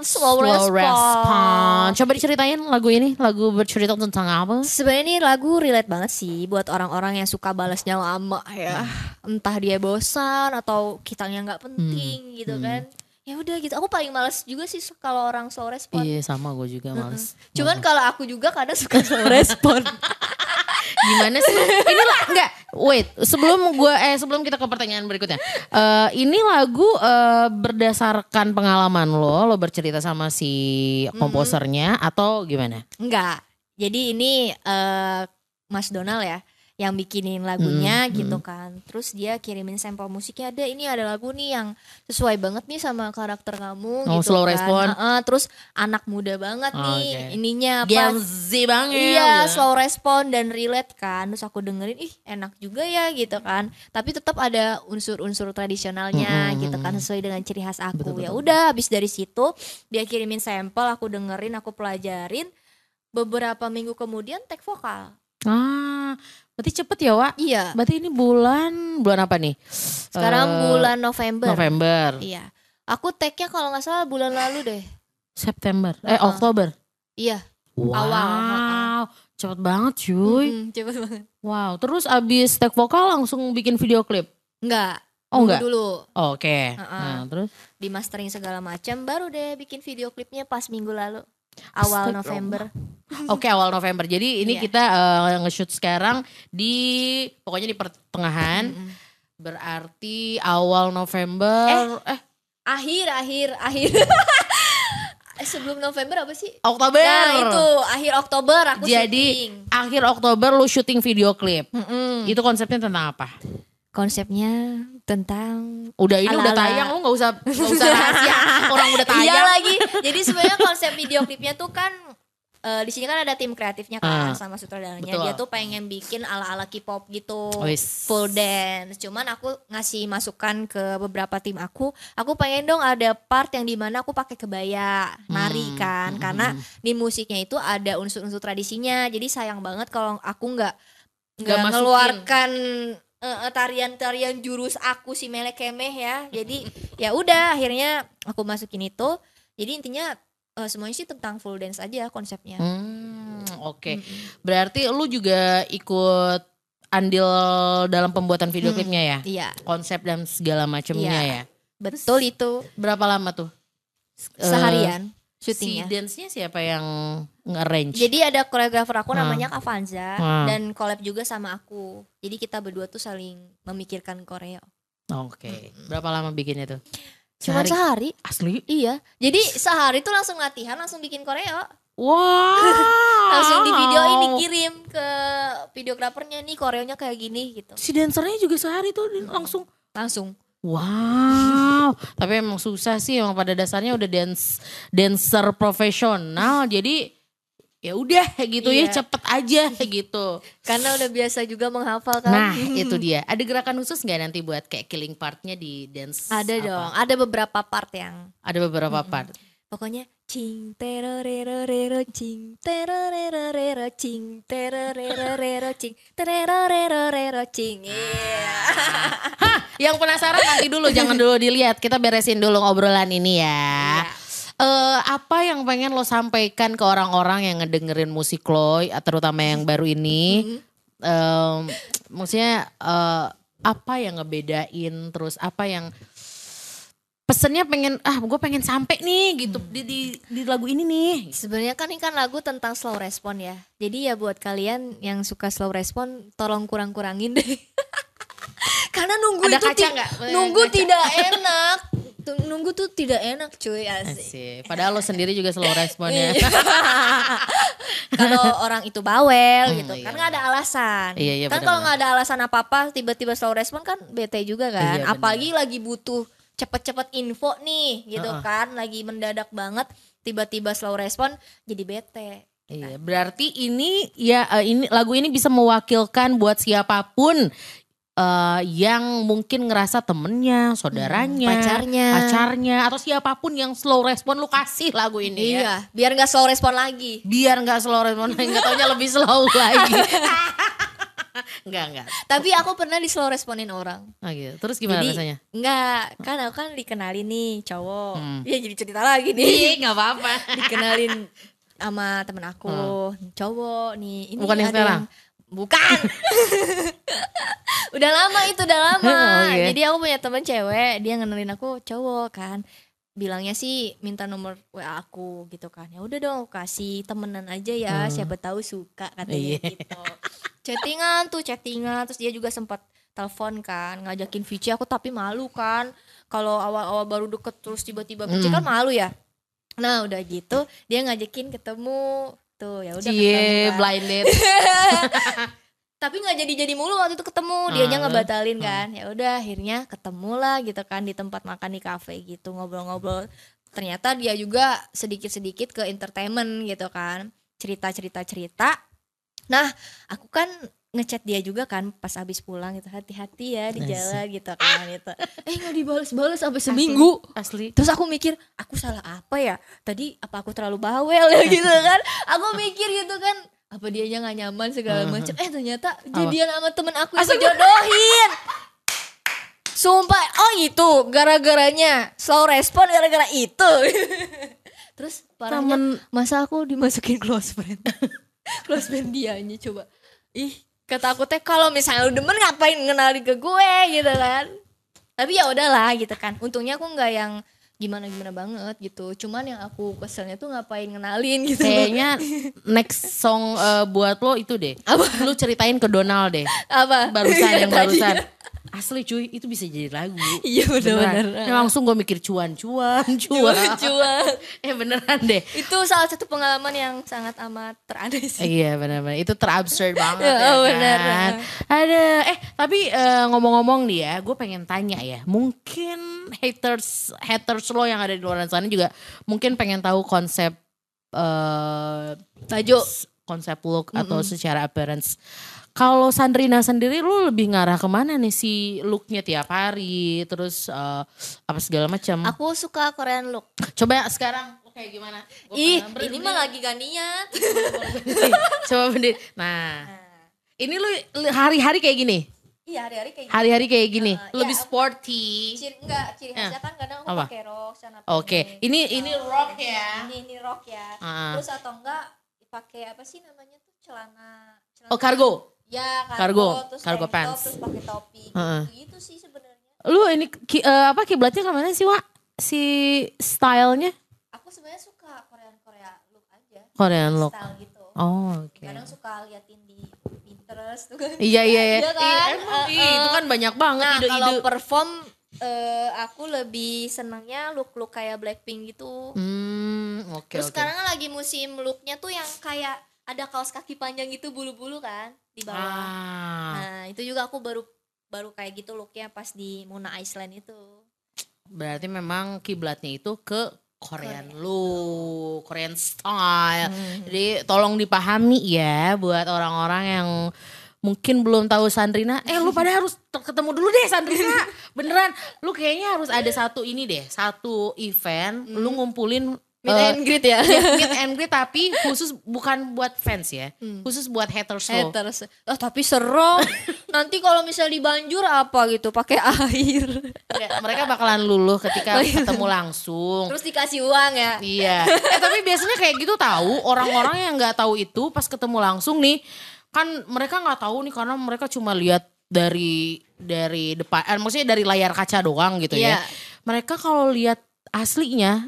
Speaker 2: slow, response.
Speaker 1: Coba diceritain lagu ini, lagu bercerita tentang apa?
Speaker 2: Sebenarnya ini lagu relate banget sih buat orang-orang yang suka balasnya lama ya.
Speaker 1: Hmm.
Speaker 2: Entah dia bosan atau kitanya nggak penting gitu
Speaker 1: Hmm.
Speaker 2: kan. Ya udah gitu. Aku paling males juga sih su- kalau orang slow respon.
Speaker 1: Iya sama gue juga males.
Speaker 2: Cuman kalau aku juga kadang suka slow respon.
Speaker 1: Gimana sih? Ini lah enggak. Wait, sebelum gua eh sebelum kita ke pertanyaan berikutnya. Eh ini lagu eh, berdasarkan pengalaman lo, lo bercerita sama si
Speaker 2: Mhm.
Speaker 1: komposernya atau gimana?
Speaker 2: Enggak. Jadi ini eh, Mas Donald ya yang bikinin
Speaker 1: Hmm,
Speaker 2: lagunya gitu kan. Terus dia kirimin sampel musiknya ada ini ada lagu nih yang sesuai banget nih sama karakter kamu
Speaker 1: Oh,
Speaker 2: gitu
Speaker 1: slow
Speaker 2: kan.
Speaker 1: respon.
Speaker 2: Heeh, terus anak muda banget
Speaker 1: Oh, oke.
Speaker 2: nih ininya apa?
Speaker 1: Gen Z banget.
Speaker 2: Iya, slow respon dan relate kan. Terus aku dengerin, ih enak juga ya gitu kan. Tapi tetap ada unsur-unsur tradisionalnya
Speaker 1: Mm-mm,
Speaker 2: gitu kan sesuai dengan ciri khas
Speaker 1: Betul,
Speaker 2: aku.
Speaker 1: betul,
Speaker 2: Ya
Speaker 1: betul.
Speaker 2: udah, habis dari situ dia kirimin sampel, aku dengerin, aku pelajarin. Beberapa minggu kemudian tag vokal.
Speaker 1: Ah, berarti cepet ya, Wak?
Speaker 2: Iya.
Speaker 1: Berarti ini bulan bulan apa nih?
Speaker 2: Sekarang
Speaker 1: Eh,
Speaker 2: bulan November.
Speaker 1: November,
Speaker 2: Iya. Aku tagnya kalau nggak salah bulan lalu deh.
Speaker 1: September, eh
Speaker 2: Heeh.
Speaker 1: Oktober.
Speaker 2: Iya.
Speaker 1: Wow,
Speaker 2: Awal,
Speaker 1: cepet banget cuy.
Speaker 2: Mm-mm, cepet banget.
Speaker 1: Wow, terus abis tag vokal langsung bikin video klip.
Speaker 2: Enggak.
Speaker 1: Oh enggak?
Speaker 2: Dulu.
Speaker 1: Oke.
Speaker 2: Heeh.
Speaker 1: Nah, terus
Speaker 2: di mastering segala macam baru deh bikin video klipnya pas minggu lalu awal
Speaker 1: Astagfirullah.
Speaker 2: November
Speaker 1: oke awal November. Jadi ini
Speaker 2: Iya.
Speaker 1: kita eh, nge-shoot sekarang di pokoknya di pertengahan.
Speaker 2: Mm-mm.
Speaker 1: Berarti awal November eh,
Speaker 2: akhir akhir akhir sebelum November apa sih
Speaker 1: Oktober.
Speaker 2: nah itu akhir Oktober aku
Speaker 1: Jadi
Speaker 2: syuting Hmm.
Speaker 1: akhir Oktober lu syuting video klip.
Speaker 2: Mm-mm.
Speaker 1: Itu konsepnya tentang apa?
Speaker 2: konsepnya tentang
Speaker 1: Udah ini udah
Speaker 2: Ala-ala.
Speaker 1: tayang lu nggak usah nggak usah rahasia. Orang udah tayang.
Speaker 2: Iya lagi. Jadi sebenarnya konsep video klipnya tuh kan eh, di sini kan ada tim kreatifnya
Speaker 1: Ah,
Speaker 2: kan sama sutradaranya.
Speaker 1: betul.
Speaker 2: Dia tuh pengen bikin ala-ala K-pop gitu,
Speaker 1: Wis.
Speaker 2: full dance. Cuman aku ngasih masukan ke beberapa tim aku, aku pengen dong ada part yang dimana aku pakai kebaya nari
Speaker 1: Hmm,
Speaker 2: kan,
Speaker 1: hmm,
Speaker 2: karena
Speaker 1: hmm.
Speaker 2: di musiknya itu ada unsur-unsur tradisinya. Jadi sayang banget kalau aku nggak
Speaker 1: Nggak
Speaker 2: nggak
Speaker 1: masukin.
Speaker 2: mengeluarkan eh, eh, tarian-tarian jurus aku si melek kemeh ya. Jadi ya udah akhirnya aku masukin itu. Jadi intinya eh, semuanya sih tentang full dance aja konsepnya.
Speaker 1: Hmm, oke. Berarti lu juga ikut andil dalam pembuatan video
Speaker 2: Hmm.
Speaker 1: klipnya ya?
Speaker 2: Iya,
Speaker 1: Konsep dan segala macamnya
Speaker 2: Iya.
Speaker 1: ya.
Speaker 2: betul itu
Speaker 1: Berapa lama tuh? Eh,
Speaker 2: seharian.
Speaker 1: si
Speaker 4: syutingnya.
Speaker 1: dance-nya siapa yang nge-arrange?
Speaker 2: Jadi ada koreografer aku
Speaker 1: Hmm.
Speaker 2: namanya Kak Vanza
Speaker 1: Hmm.
Speaker 2: dan collab juga sama aku. Jadi kita berdua tuh saling memikirkan koreo.
Speaker 1: Oke. Berapa lama bikinnya tuh?
Speaker 2: Cuman
Speaker 1: Sehari?
Speaker 2: sehari.
Speaker 1: asli.
Speaker 2: Iya. Jadi sehari tuh langsung latihan, langsung bikin koreo,
Speaker 1: Wow.
Speaker 2: langsung di video
Speaker 1: Oh.
Speaker 2: ini kirim ke videografernya nih koreonya kayak gini gitu.
Speaker 1: Si dansernya juga sehari tuh dia langsung
Speaker 2: Langsung.
Speaker 1: Wow, tapi emang susah sih emang pada dasarnya udah dance dancer profesional. Jadi ya udah gitu
Speaker 2: Iya.
Speaker 1: ya cepet aja gitu.
Speaker 2: Karena udah biasa juga menghafal kan.
Speaker 1: Nah itu dia. Ada gerakan khusus nggak nanti buat kayak killing partnya di dance?
Speaker 2: Ada
Speaker 1: apa?
Speaker 2: dong, ada beberapa part yang
Speaker 1: Ada beberapa part.
Speaker 2: pokoknya cing terorerorero cing terorerorero cing terorerorero cing terorerorero cing. Iya.
Speaker 1: Yang penasaran nanti dulu, jangan dulu dilihat. Kita beresin dulu obrolan ini ya. Eh, apa yang pengen lo sampaikan ke orang-orang yang ngedengerin musik lo, ya, terutama yang baru ini? Em, maksudnya eh, apa yang ngebedain, terus apa yang pesennya pengen ah gue pengen sampai nih gitu di, di di lagu ini nih. Gitu
Speaker 2: Sebenarnya kan ini kan lagu tentang slow respon ya. Jadi ya buat kalian yang suka slow respon tolong kurang-kurangin deh. Karena nunggu
Speaker 1: Ada
Speaker 2: itu
Speaker 1: kaca
Speaker 2: ti-
Speaker 1: nggak?
Speaker 2: nunggu
Speaker 1: Kaca.
Speaker 2: tidak enak. Tu- Nunggu tuh tidak enak cuy asik.
Speaker 1: Asik. Padahal lo sendiri juga slow respon ya.
Speaker 2: Iya. Kalau orang itu bawel gitu
Speaker 1: iya.
Speaker 2: kan nggak ada alasan.
Speaker 1: Iya, iya,
Speaker 2: kan
Speaker 1: benar-benar.
Speaker 2: kalau nggak ada alasan apa-apa tiba-tiba slow respon kan bete juga
Speaker 1: Iya,
Speaker 2: kan.
Speaker 1: benar.
Speaker 2: Apalagi lagi butuh cepet-cepet info nih gitu
Speaker 1: Uh-uh.
Speaker 2: kan lagi mendadak banget tiba-tiba slow respon jadi bete.
Speaker 1: Iya,
Speaker 2: Nah.
Speaker 1: berarti ini ya eh, ini lagu ini bisa mewakilkan buat siapapun eh, yang mungkin ngerasa temennya, saudaranya,
Speaker 2: Hmm, pacarnya.
Speaker 1: pacarnya, atau siapapun yang slow respon lu kasih lagu ini ya.
Speaker 2: Iya, biar nggak slow respon lagi.
Speaker 1: Biar nggak slow respon, nggak taunya lebih slow lagi. Enggak, enggak.
Speaker 2: Tapi aku pernah di slow responin orang.
Speaker 1: Oh, gitu. Terus gimana
Speaker 2: jadi
Speaker 1: rasanya?
Speaker 2: Enggak, kan aku kan dikenalin nih cowok.
Speaker 1: Hmm.
Speaker 2: Ya jadi cerita lagi
Speaker 1: Iya,
Speaker 2: nih.
Speaker 1: enggak apa-apa.
Speaker 2: dikenalin sama temen aku, cowok nih. Ini
Speaker 1: Hmm. Bukan yang
Speaker 2: ada
Speaker 1: sekarang?
Speaker 2: Bukan. udah lama itu, udah lama.
Speaker 1: Oke.
Speaker 2: Jadi aku punya temen cewek, dia ngenalin aku cowok kan. Bilangnya sih minta nomor WA aku gitu kan. Ya udah dong, aku kasih temenan aja ya, siapa tahu suka katanya
Speaker 1: Hmm. Iya.
Speaker 2: gitu. Chattingan tuh, chattingan terus dia juga sempat telepon kan, ngajakin VC aku tapi malu kan. Kalau awal-awal baru deket terus tiba-tiba VC kan malu ya. Nah, udah gitu dia ngajakin ketemu tuh ya udah
Speaker 1: Cie,
Speaker 2: ketemu kan.
Speaker 1: blind date.
Speaker 2: tapi nggak jadi jadi mulu waktu itu ketemu dia
Speaker 1: Ah,
Speaker 2: nya
Speaker 1: lu-
Speaker 2: ngebatalin kan ya udah akhirnya ketemu lah gitu kan di tempat makan di kafe gitu ngobrol-ngobrol ternyata dia juga sedikit-sedikit ke entertainment gitu kan cerita-cerita cerita nah aku kan ngechat dia juga kan pas abis pulang gitu hati-hati ya di
Speaker 1: Asik.
Speaker 2: jalan gitu kan gitu eh nggak dibales-bales sampai
Speaker 1: Seminggu. Asli.
Speaker 2: Terus aku mikir, aku salah apa ya? Tadi apa aku terlalu bawel ya gitu kan? Aku mikir gitu kan, apa dianya nggak nyaman segala macam. Eh ternyata jadian sama temen aku yang aku jodohin. Sumpah, oh itu gara-garanya slow respon gara-gara itu. Terus parahnya
Speaker 1: Temen-
Speaker 2: masa aku dimasukin close friend. close friend dianya coba. Ih, kata aku teh kalau misalnya lu demen ngapain ngenalin ke gue gitu kan tapi ya udahlah gitu kan untungnya aku nggak yang gimana gimana banget gitu cuman yang aku keselnya tuh ngapain ngenalin gitu
Speaker 1: Kayaknya next song eh, buat lo itu deh. Lu ceritain ke Donald deh.
Speaker 2: apa
Speaker 1: barusan yang
Speaker 2: Tadi.
Speaker 1: barusan Iya, asli cuy itu bisa jadi lagu
Speaker 2: iya
Speaker 1: Beneran. Iya.
Speaker 2: benar-benar
Speaker 1: Ya, langsung gue mikir cuan cuan cuan eh beneran deh
Speaker 2: itu salah satu pengalaman yang sangat amat teraneh sih
Speaker 1: Iya benar-benar itu terabsurd banget
Speaker 2: Ya,
Speaker 1: ya,
Speaker 2: benar.
Speaker 1: kan. Ada eh tapi eh, ngomong-ngomong nih ya, gue pengen tanya ya, mungkin haters haters lo yang ada di luar sana juga mungkin pengen tahu konsep eh
Speaker 2: Baju.
Speaker 1: s- konsep look atau secara appearance. Kalau Sandrina sendiri lu lebih ngarah kemana nih si looknya tiap hari, terus eh, apa segala macam.
Speaker 2: aku suka Korean look
Speaker 1: Coba sekarang oke gimana? Gua
Speaker 2: ih
Speaker 1: pengen
Speaker 2: ini mah lagi gantian
Speaker 1: Nih, coba bener. Nah, ini lu lu hari-hari kayak gini,
Speaker 2: iya hari-hari kayak gitu
Speaker 1: hari-hari kayak gini,
Speaker 2: iya,
Speaker 1: lebih sporty.
Speaker 2: ciri enggak ciri khasnya kan kadang aku
Speaker 1: Ya. Apa?
Speaker 2: pakai rok sana
Speaker 1: Oke,
Speaker 2: pendek.
Speaker 1: ini ini rock ya.
Speaker 2: ini ini rok ya
Speaker 1: Ah.
Speaker 2: terus atau enggak pakai apa sih namanya tuh celana celana
Speaker 1: Oh cargo.
Speaker 2: Ya,
Speaker 1: Cargo,
Speaker 2: kargo, terus
Speaker 1: cargo
Speaker 2: tank
Speaker 1: pants.
Speaker 2: Top, terus pakai topi.
Speaker 1: Heeh.
Speaker 2: Gitu sih sebenarnya.
Speaker 1: Lu ini ki- eh, apa kiblatnya kemana sih Wak? Si stylenya?
Speaker 2: Aku sebenarnya suka Korea
Speaker 1: Korean look.
Speaker 2: style gitu
Speaker 1: Oh, oke.
Speaker 2: kadang suka liatin di Pinterest tuh kan
Speaker 1: Iya, iya, iya.
Speaker 2: Iya kan?
Speaker 1: Ih, emang, ih, itu kan banyak banget
Speaker 2: nah
Speaker 1: ide-ide.
Speaker 2: kalau perform eh, aku lebih senangnya look-look kayak Blackpink gitu
Speaker 1: Hmm, oke, oke.
Speaker 2: terus sekarang kan lagi musim looknya tuh yang kayak ada kaos kaki panjang gitu bulu-bulu kan di bawah
Speaker 1: Ah,
Speaker 2: nah itu juga aku baru baru kayak gitu looknya pas di Muna Iceland itu
Speaker 1: berarti memang kiblatnya itu ke Korean look, Korean style.
Speaker 2: Hmm.
Speaker 1: Jadi tolong dipahami ya buat orang-orang yang mungkin belum tahu Sandrina. Eh lu pada harus ter- ketemu dulu deh Sandrina. Beneran, lu kayaknya harus ada satu ini deh, satu event lu ngumpulin
Speaker 4: Meet
Speaker 1: eh,
Speaker 4: and greet ya.
Speaker 1: Iya, meet and greet tapi khusus bukan buat fans ya, khusus buat haters
Speaker 2: Eh,
Speaker 1: lo.
Speaker 4: Haters. Oh, tapi serem. Nanti kalau misal di banjur apa gitu pakai air.
Speaker 1: Mereka- Mereka bakalan luluh ketika ketemu langsung.
Speaker 2: terus dikasih uang ya
Speaker 1: Iya. Eh, tapi biasanya kayak gitu tahu orang-orang yang nggak tahu itu pas ketemu langsung nih kan mereka nggak tahu nih karena mereka cuma lihat dari dari depan, eh, maksudnya dari layar kaca doang gitu
Speaker 4: Iya.
Speaker 1: ya. Mereka kalau lihat aslinya,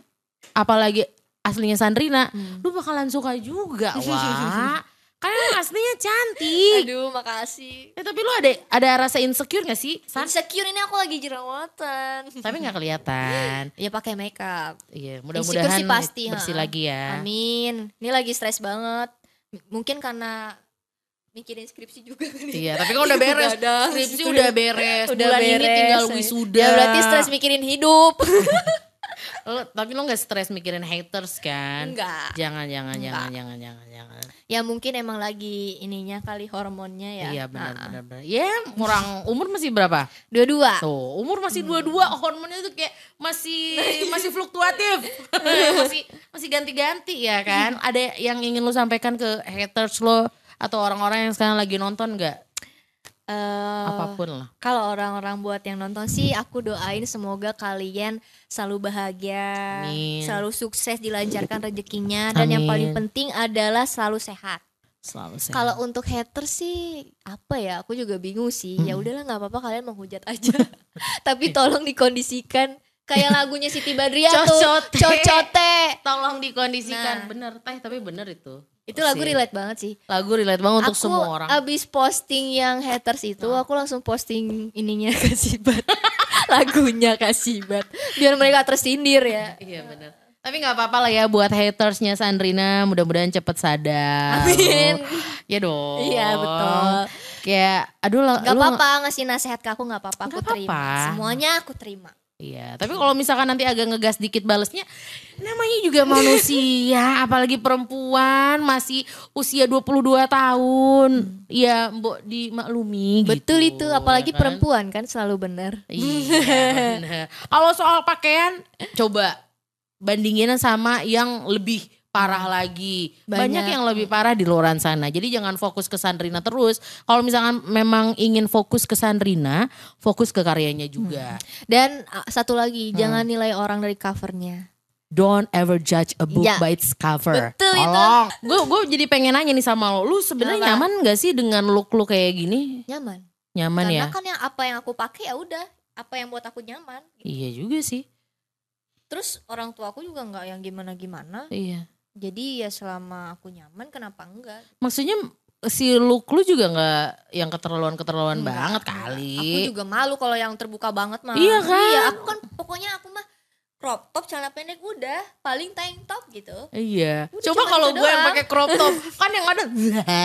Speaker 1: apalagi aslinya Sandrina,
Speaker 2: Hmm.
Speaker 1: lu bakalan suka juga, wah. Karena emang aslinya cantik.
Speaker 2: aduh makasih
Speaker 1: Eh, tapi lu ada ada rasa insecure gak sih? San?
Speaker 2: insecure ini aku lagi jerawatan
Speaker 1: Tapi nggak kelihatan.
Speaker 2: ya pakai makeup
Speaker 1: Iya,
Speaker 2: Insecure
Speaker 1: mudah-mudahan
Speaker 2: sih pasti,
Speaker 1: bersih
Speaker 2: ha.
Speaker 1: lagi ya.
Speaker 2: amin ini lagi stres banget M- mungkin karena mikirin skripsi juga nih
Speaker 1: Iya, tapi kan udah beres.
Speaker 2: Udah ada.
Speaker 1: Skripsi udah beres. Iya.
Speaker 2: Udah
Speaker 1: Bulan ini
Speaker 2: beres,
Speaker 1: tinggal
Speaker 2: ya.
Speaker 1: wisuda.
Speaker 4: Ya berarti stres mikirin hidup.
Speaker 1: Lo- tapi lo gak stres mikirin haters kan?
Speaker 2: enggak
Speaker 1: Jangan, jangan, jangan, jangan, jangan, jangan.
Speaker 2: ya mungkin emang lagi ininya kali hormonnya ya
Speaker 1: Iya benar, benar, benar. Ya orang umur masih berapa?
Speaker 2: dua-dua
Speaker 1: Tuh, umur masih dua-dua, hormonnya tuh kayak masih masih fluktuatif. Eh, masih masih ganti-ganti ya kan? Ada yang ingin lo sampaikan ke haters lo atau orang-orang yang sekarang lagi nonton gak?
Speaker 2: Eh,
Speaker 1: Apapun lah.
Speaker 2: kalau orang-orang buat yang nonton sih aku doain semoga kalian selalu bahagia
Speaker 1: Amin.
Speaker 2: selalu sukses dilancarkan rezekinya dan yang
Speaker 1: Amin.
Speaker 2: paling penting adalah selalu sehat
Speaker 1: Selalu sehat.
Speaker 2: Kalau untuk hater sih apa ya? Aku juga bingung sih. Ya
Speaker 1: Hmm.
Speaker 2: udahlah nggak apa-apa kalian menghujat aja. Tapi tolong dikondisikan kayak lagunya Siti Badriah tuh.
Speaker 1: Cocote.
Speaker 2: Cocote.
Speaker 1: tolong dikondisikan
Speaker 2: Nah.
Speaker 1: bener teh tapi bener itu
Speaker 2: Itu lagu
Speaker 1: Sih.
Speaker 2: relate banget sih.
Speaker 1: lagu relate banget untuk
Speaker 2: aku
Speaker 1: semua orang Nah.
Speaker 2: abis posting yang haters itu, aku langsung posting ininya Kasibat. Lagunya Kasibat. Biar mereka tersindir ya.
Speaker 1: iya bener tapi nggak apa-apa lah ya buat hatersnya Sandrina mudah-mudahan cepet sadar
Speaker 2: Amin.
Speaker 1: ya dong
Speaker 2: Iya, betul.
Speaker 1: kayak aduh lah
Speaker 2: Gak
Speaker 1: lu
Speaker 2: apa-apa ngasih nasihat ke aku nggak apa-apa. Aku
Speaker 1: Nggak
Speaker 2: terima.
Speaker 1: apa-apa.
Speaker 2: Semuanya aku terima.
Speaker 1: iya tapi kalau misalkan nanti agak ngegas dikit balesnya namanya juga manusia apalagi perempuan masih usia 22 tahun ya mbok dimaklumi gitu,
Speaker 2: Betul itu, apalagi
Speaker 1: ya kan?
Speaker 2: perempuan kan selalu benar.
Speaker 1: Iya. bener. Kalau soal pakaian, coba bandingin sama yang lebih parah lagi. Banyak.
Speaker 2: Banyak.
Speaker 1: yang lebih parah di luaran sana. Jadi jangan fokus ke Sandrina terus. Kalau misalkan memang ingin fokus ke Sandrina, fokus ke karyanya juga.
Speaker 2: Dan uh, satu
Speaker 1: Hmm.
Speaker 2: lagi, jangan nilai orang dari covernya.
Speaker 1: Don't ever judge a book
Speaker 2: Iya.
Speaker 1: by its cover.
Speaker 2: Betul itu.
Speaker 1: Gue gue jadi pengen nanya nih sama lo. Lu sebenarnya
Speaker 2: Apa?
Speaker 1: nyaman gak sih dengan look lu kayak gini?
Speaker 2: Nyaman.
Speaker 1: Nyaman
Speaker 2: Karena
Speaker 1: ya?
Speaker 2: kan yang apa yang aku pakai ya udah, apa yang buat aku nyaman.
Speaker 1: Iya juga sih.
Speaker 2: Terus orang tua aku juga nggak yang gimana-gimana.
Speaker 1: Iya.
Speaker 2: Jadi ya selama aku nyaman, kenapa enggak?
Speaker 1: Maksudnya si look lu juga nggak yang keterlaluan-keterlaluan
Speaker 2: Enggak,
Speaker 1: banget
Speaker 2: Aku
Speaker 1: kali.
Speaker 2: juga malu kalau yang terbuka banget mah.
Speaker 1: Iya kan?
Speaker 2: Iya, aku kan pokoknya aku mah crop top, celana pendek udah, paling tank top gitu.
Speaker 1: Iya.
Speaker 2: Udah,
Speaker 1: Coba
Speaker 2: cuman
Speaker 1: kalau
Speaker 2: itu
Speaker 1: gue yang
Speaker 2: doang.
Speaker 1: pakai crop top, kan yang ada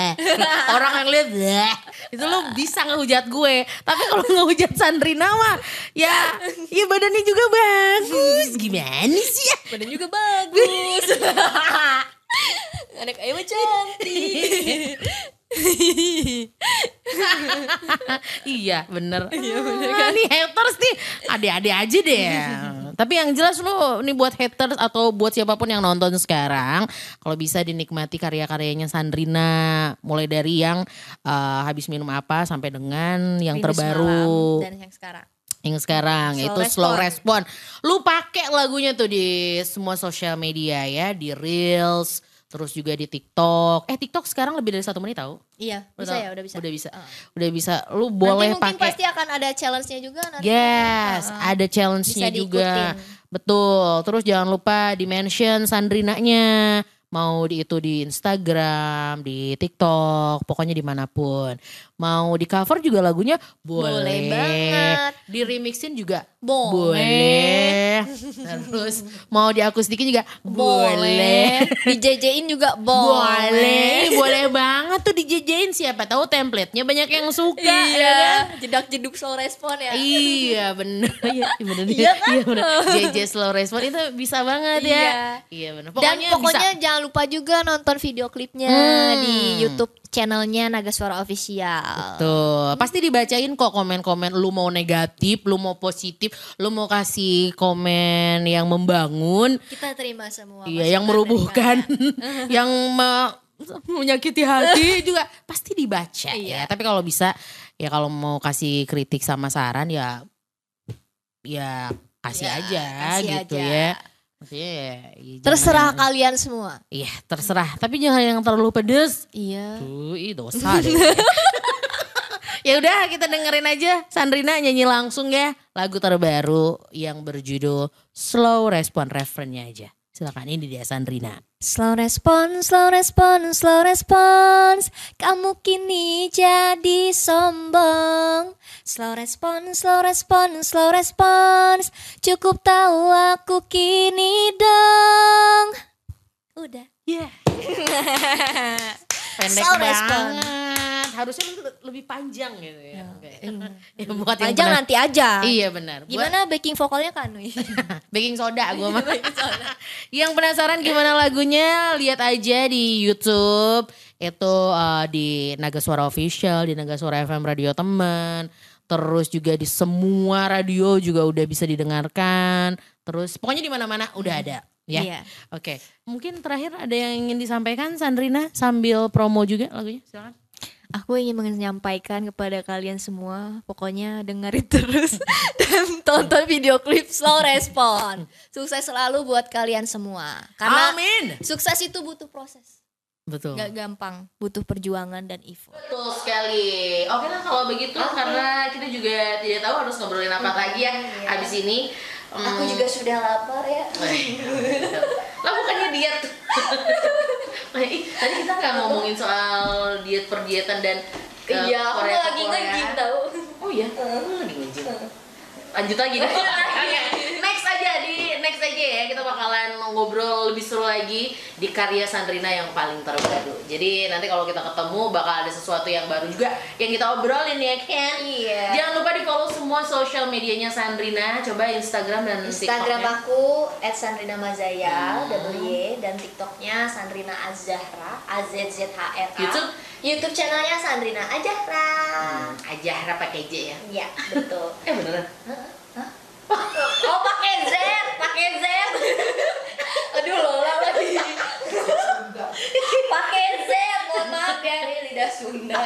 Speaker 1: orang yang lihat itu lu bisa ngehujat gue. Tapi kalau ngehujat Sandrina mah ya ya badannya juga bagus. Gimana sih ya?
Speaker 2: Badan juga bagus. Anak ayu cantik.
Speaker 1: iya, bener. Iya, bener
Speaker 2: kan?
Speaker 1: Nih haters nih, adik-adik aja deh. Tapi yang jelas lo nih buat haters atau buat siapapun yang nonton sekarang, kalau bisa dinikmati karya-karyanya Sandrina, mulai dari yang eh, habis minum apa sampai dengan yang
Speaker 2: Rindu
Speaker 1: terbaru
Speaker 2: semalam Dan yang sekarang.
Speaker 1: yang sekarang
Speaker 2: Slow
Speaker 1: itu slow respon. Lu pakai lagunya tuh di semua sosial media ya, di Reels, terus juga di TikTok. Eh TikTok sekarang lebih dari satu menit tau?
Speaker 2: Iya,
Speaker 1: Lu
Speaker 2: bisa
Speaker 1: tau?
Speaker 2: ya, udah bisa.
Speaker 1: Udah bisa. Udah bisa. Lu boleh
Speaker 2: nanti mungkin
Speaker 1: pakai.
Speaker 2: pasti akan ada challenge-nya juga nanti.
Speaker 1: Iya.
Speaker 2: Ah,
Speaker 1: Yes,
Speaker 2: Heeh.
Speaker 1: ada challenge-nya
Speaker 2: Bisa
Speaker 1: juga.
Speaker 2: diikutin.
Speaker 1: Betul. Terus jangan lupa di mention Sandrinanya. Mau di itu di Instagram, di TikTok, pokoknya dimanapun. Mau di cover juga lagunya boleh.
Speaker 2: Boleh banget.
Speaker 1: Di remixin juga boleh.
Speaker 2: Boleh.
Speaker 1: Terus mau di aku sedikit juga boleh.
Speaker 2: Dijejein juga boleh.
Speaker 1: Boleh, boleh banget tuh dijejain siapa tahu templatenya banyak yang suka. ya
Speaker 2: Iya,
Speaker 1: kan?
Speaker 2: jedak jeduk slow respon ya.
Speaker 1: Iya bener Iya bener Iya kan bener. JJ slow respon itu bisa banget ya
Speaker 2: Iya.
Speaker 1: Iya bener
Speaker 2: Dan
Speaker 1: Pokoknya,
Speaker 2: pokoknya
Speaker 1: bisa
Speaker 2: jangan lupa juga nonton video klipnya
Speaker 1: Hmm.
Speaker 2: di YouTube channelnya Naga Suara Official.
Speaker 1: Tuh, pasti dibacain kok komen-komen lu mau negatif, lu mau positif, lu mau kasih komen yang membangun,
Speaker 2: Kita terima semua.
Speaker 1: iya yang merubuhkan, yang me- menyakiti hati ya. juga pasti dibaca ya. Tapi kalau bisa ya kalau mau kasih kritik sama saran ya ya kasih aja
Speaker 2: kasih
Speaker 1: gitu
Speaker 2: aja.
Speaker 1: ya. Maksudnya ya, ya jangan
Speaker 2: Terserah
Speaker 1: yang-
Speaker 2: kalian semua.
Speaker 1: Iya terserah, tapi jangan yang terlalu pedes.
Speaker 2: Iya.
Speaker 1: Tuh, ih dosa deh. ya udah kita dengerin aja Sandrina nyanyi langsung ya lagu terbaru yang berjudul Slow Respon referennya aja. Silakan ini dia Sandrina.
Speaker 2: Slow response, slow response, slow response. Kamu kini jadi sombong. Slow response, slow response, slow response. Cukup tahu aku kini dong. Udah.
Speaker 1: Iya. Pendek
Speaker 2: Slow
Speaker 1: banget.
Speaker 2: respon.
Speaker 1: Harusnya le- lebih panjang gitu ya. Oke. ya buat yang
Speaker 2: Panjang
Speaker 1: benar.
Speaker 2: nanti aja.
Speaker 1: Iya benar. Buat-
Speaker 2: Gimana backing vokalnya Kanui?
Speaker 1: baking soda gue mah. Yang penasaran gimana lagunya, lihat aja di YouTube. Itu eh, di Naga Suara Official, di Naga Suara FM Radio Teman. Terus juga di semua radio juga udah bisa didengarkan. Terus pokoknya di mana-mana udah ada. Ya.
Speaker 2: Iya.
Speaker 1: Oke. Mungkin terakhir ada yang ingin disampaikan Sandrina sambil promo juga lagunya. Silakan.
Speaker 2: Aku ingin menyampaikan kepada kalian semua, pokoknya dengerin terus dan tonton video klip slow respon. Sukses selalu buat kalian semua. Karena
Speaker 1: Amin.
Speaker 2: sukses itu butuh proses,
Speaker 1: Betul.
Speaker 2: nggak gampang, butuh perjuangan dan effort.
Speaker 1: Betul sekali. Oke lah kalau begitu karena kita juga tidak tahu harus ngobrolin apa lagi ya habis ini. em,
Speaker 2: Aku juga sudah lapar ya.
Speaker 1: lah bukannya diet. Nah, Ih, Tadi kita nggak ngomongin soal diet perdiatan dan ke Korea ke Korea.
Speaker 2: tau.
Speaker 1: Oh iya, lu lagi nge-gym. Lanjut lagi deh. Oke, next aja di next aja ya kita bakalan ngobrol lebih seru lagi di karya Sandrina yang paling terbaru. Jadi nanti kalau kita ketemu bakal ada sesuatu yang baru juga yang kita obrolin ya Ken.
Speaker 2: Iya.
Speaker 1: Jangan lupa di follow semua social medianya Sandrina. Coba Instagram dan
Speaker 2: Instagram
Speaker 1: TikToknya.
Speaker 2: aku @sandrinamazaya W dan TikToknya Sandrina Azhara A Z Z H R A.
Speaker 1: YouTube?
Speaker 2: YouTube channelnya Sandrina Azhara.
Speaker 1: Hmm, Azahra pakai J ya.
Speaker 2: Iya, betul.
Speaker 1: Eh beneran.
Speaker 2: Oh pakai Z, pakai Z. Aduh Lola lagi. pakai Z, mohon maaf ya ini lidah Sunda.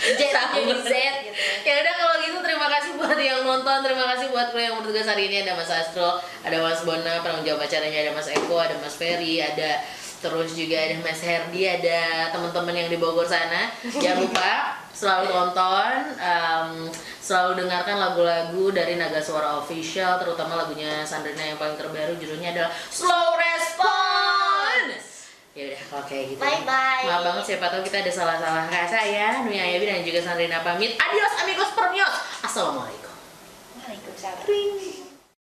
Speaker 2: Z jadi Z gitu.
Speaker 1: Ya udah kalau gitu terima kasih buat yang nonton, terima kasih buat lo yang bertugas hari ini ada Mas Astro, ada Mas Bona, penanggung jawab acaranya ada Mas Eko, ada Mas Ferry, ada terus juga ada Mas Herdi, ada teman-teman yang di Bogor sana. Jangan lupa selalu tonton, em, selalu dengarkan lagu-lagu dari Naga Suara Official, terutama lagunya Sandrina yang paling terbaru judulnya adalah Slow Response. Ya udah kalau kayak gitu.
Speaker 2: Bye-bye.
Speaker 1: Maaf banget siapa tahu kita ada salah-salah kata ya. Nui Ayabi dan juga Sandrina pamit. Adios amigos permios. Assalamualaikum.
Speaker 2: Waalaikumsalam.
Speaker 1: Ring.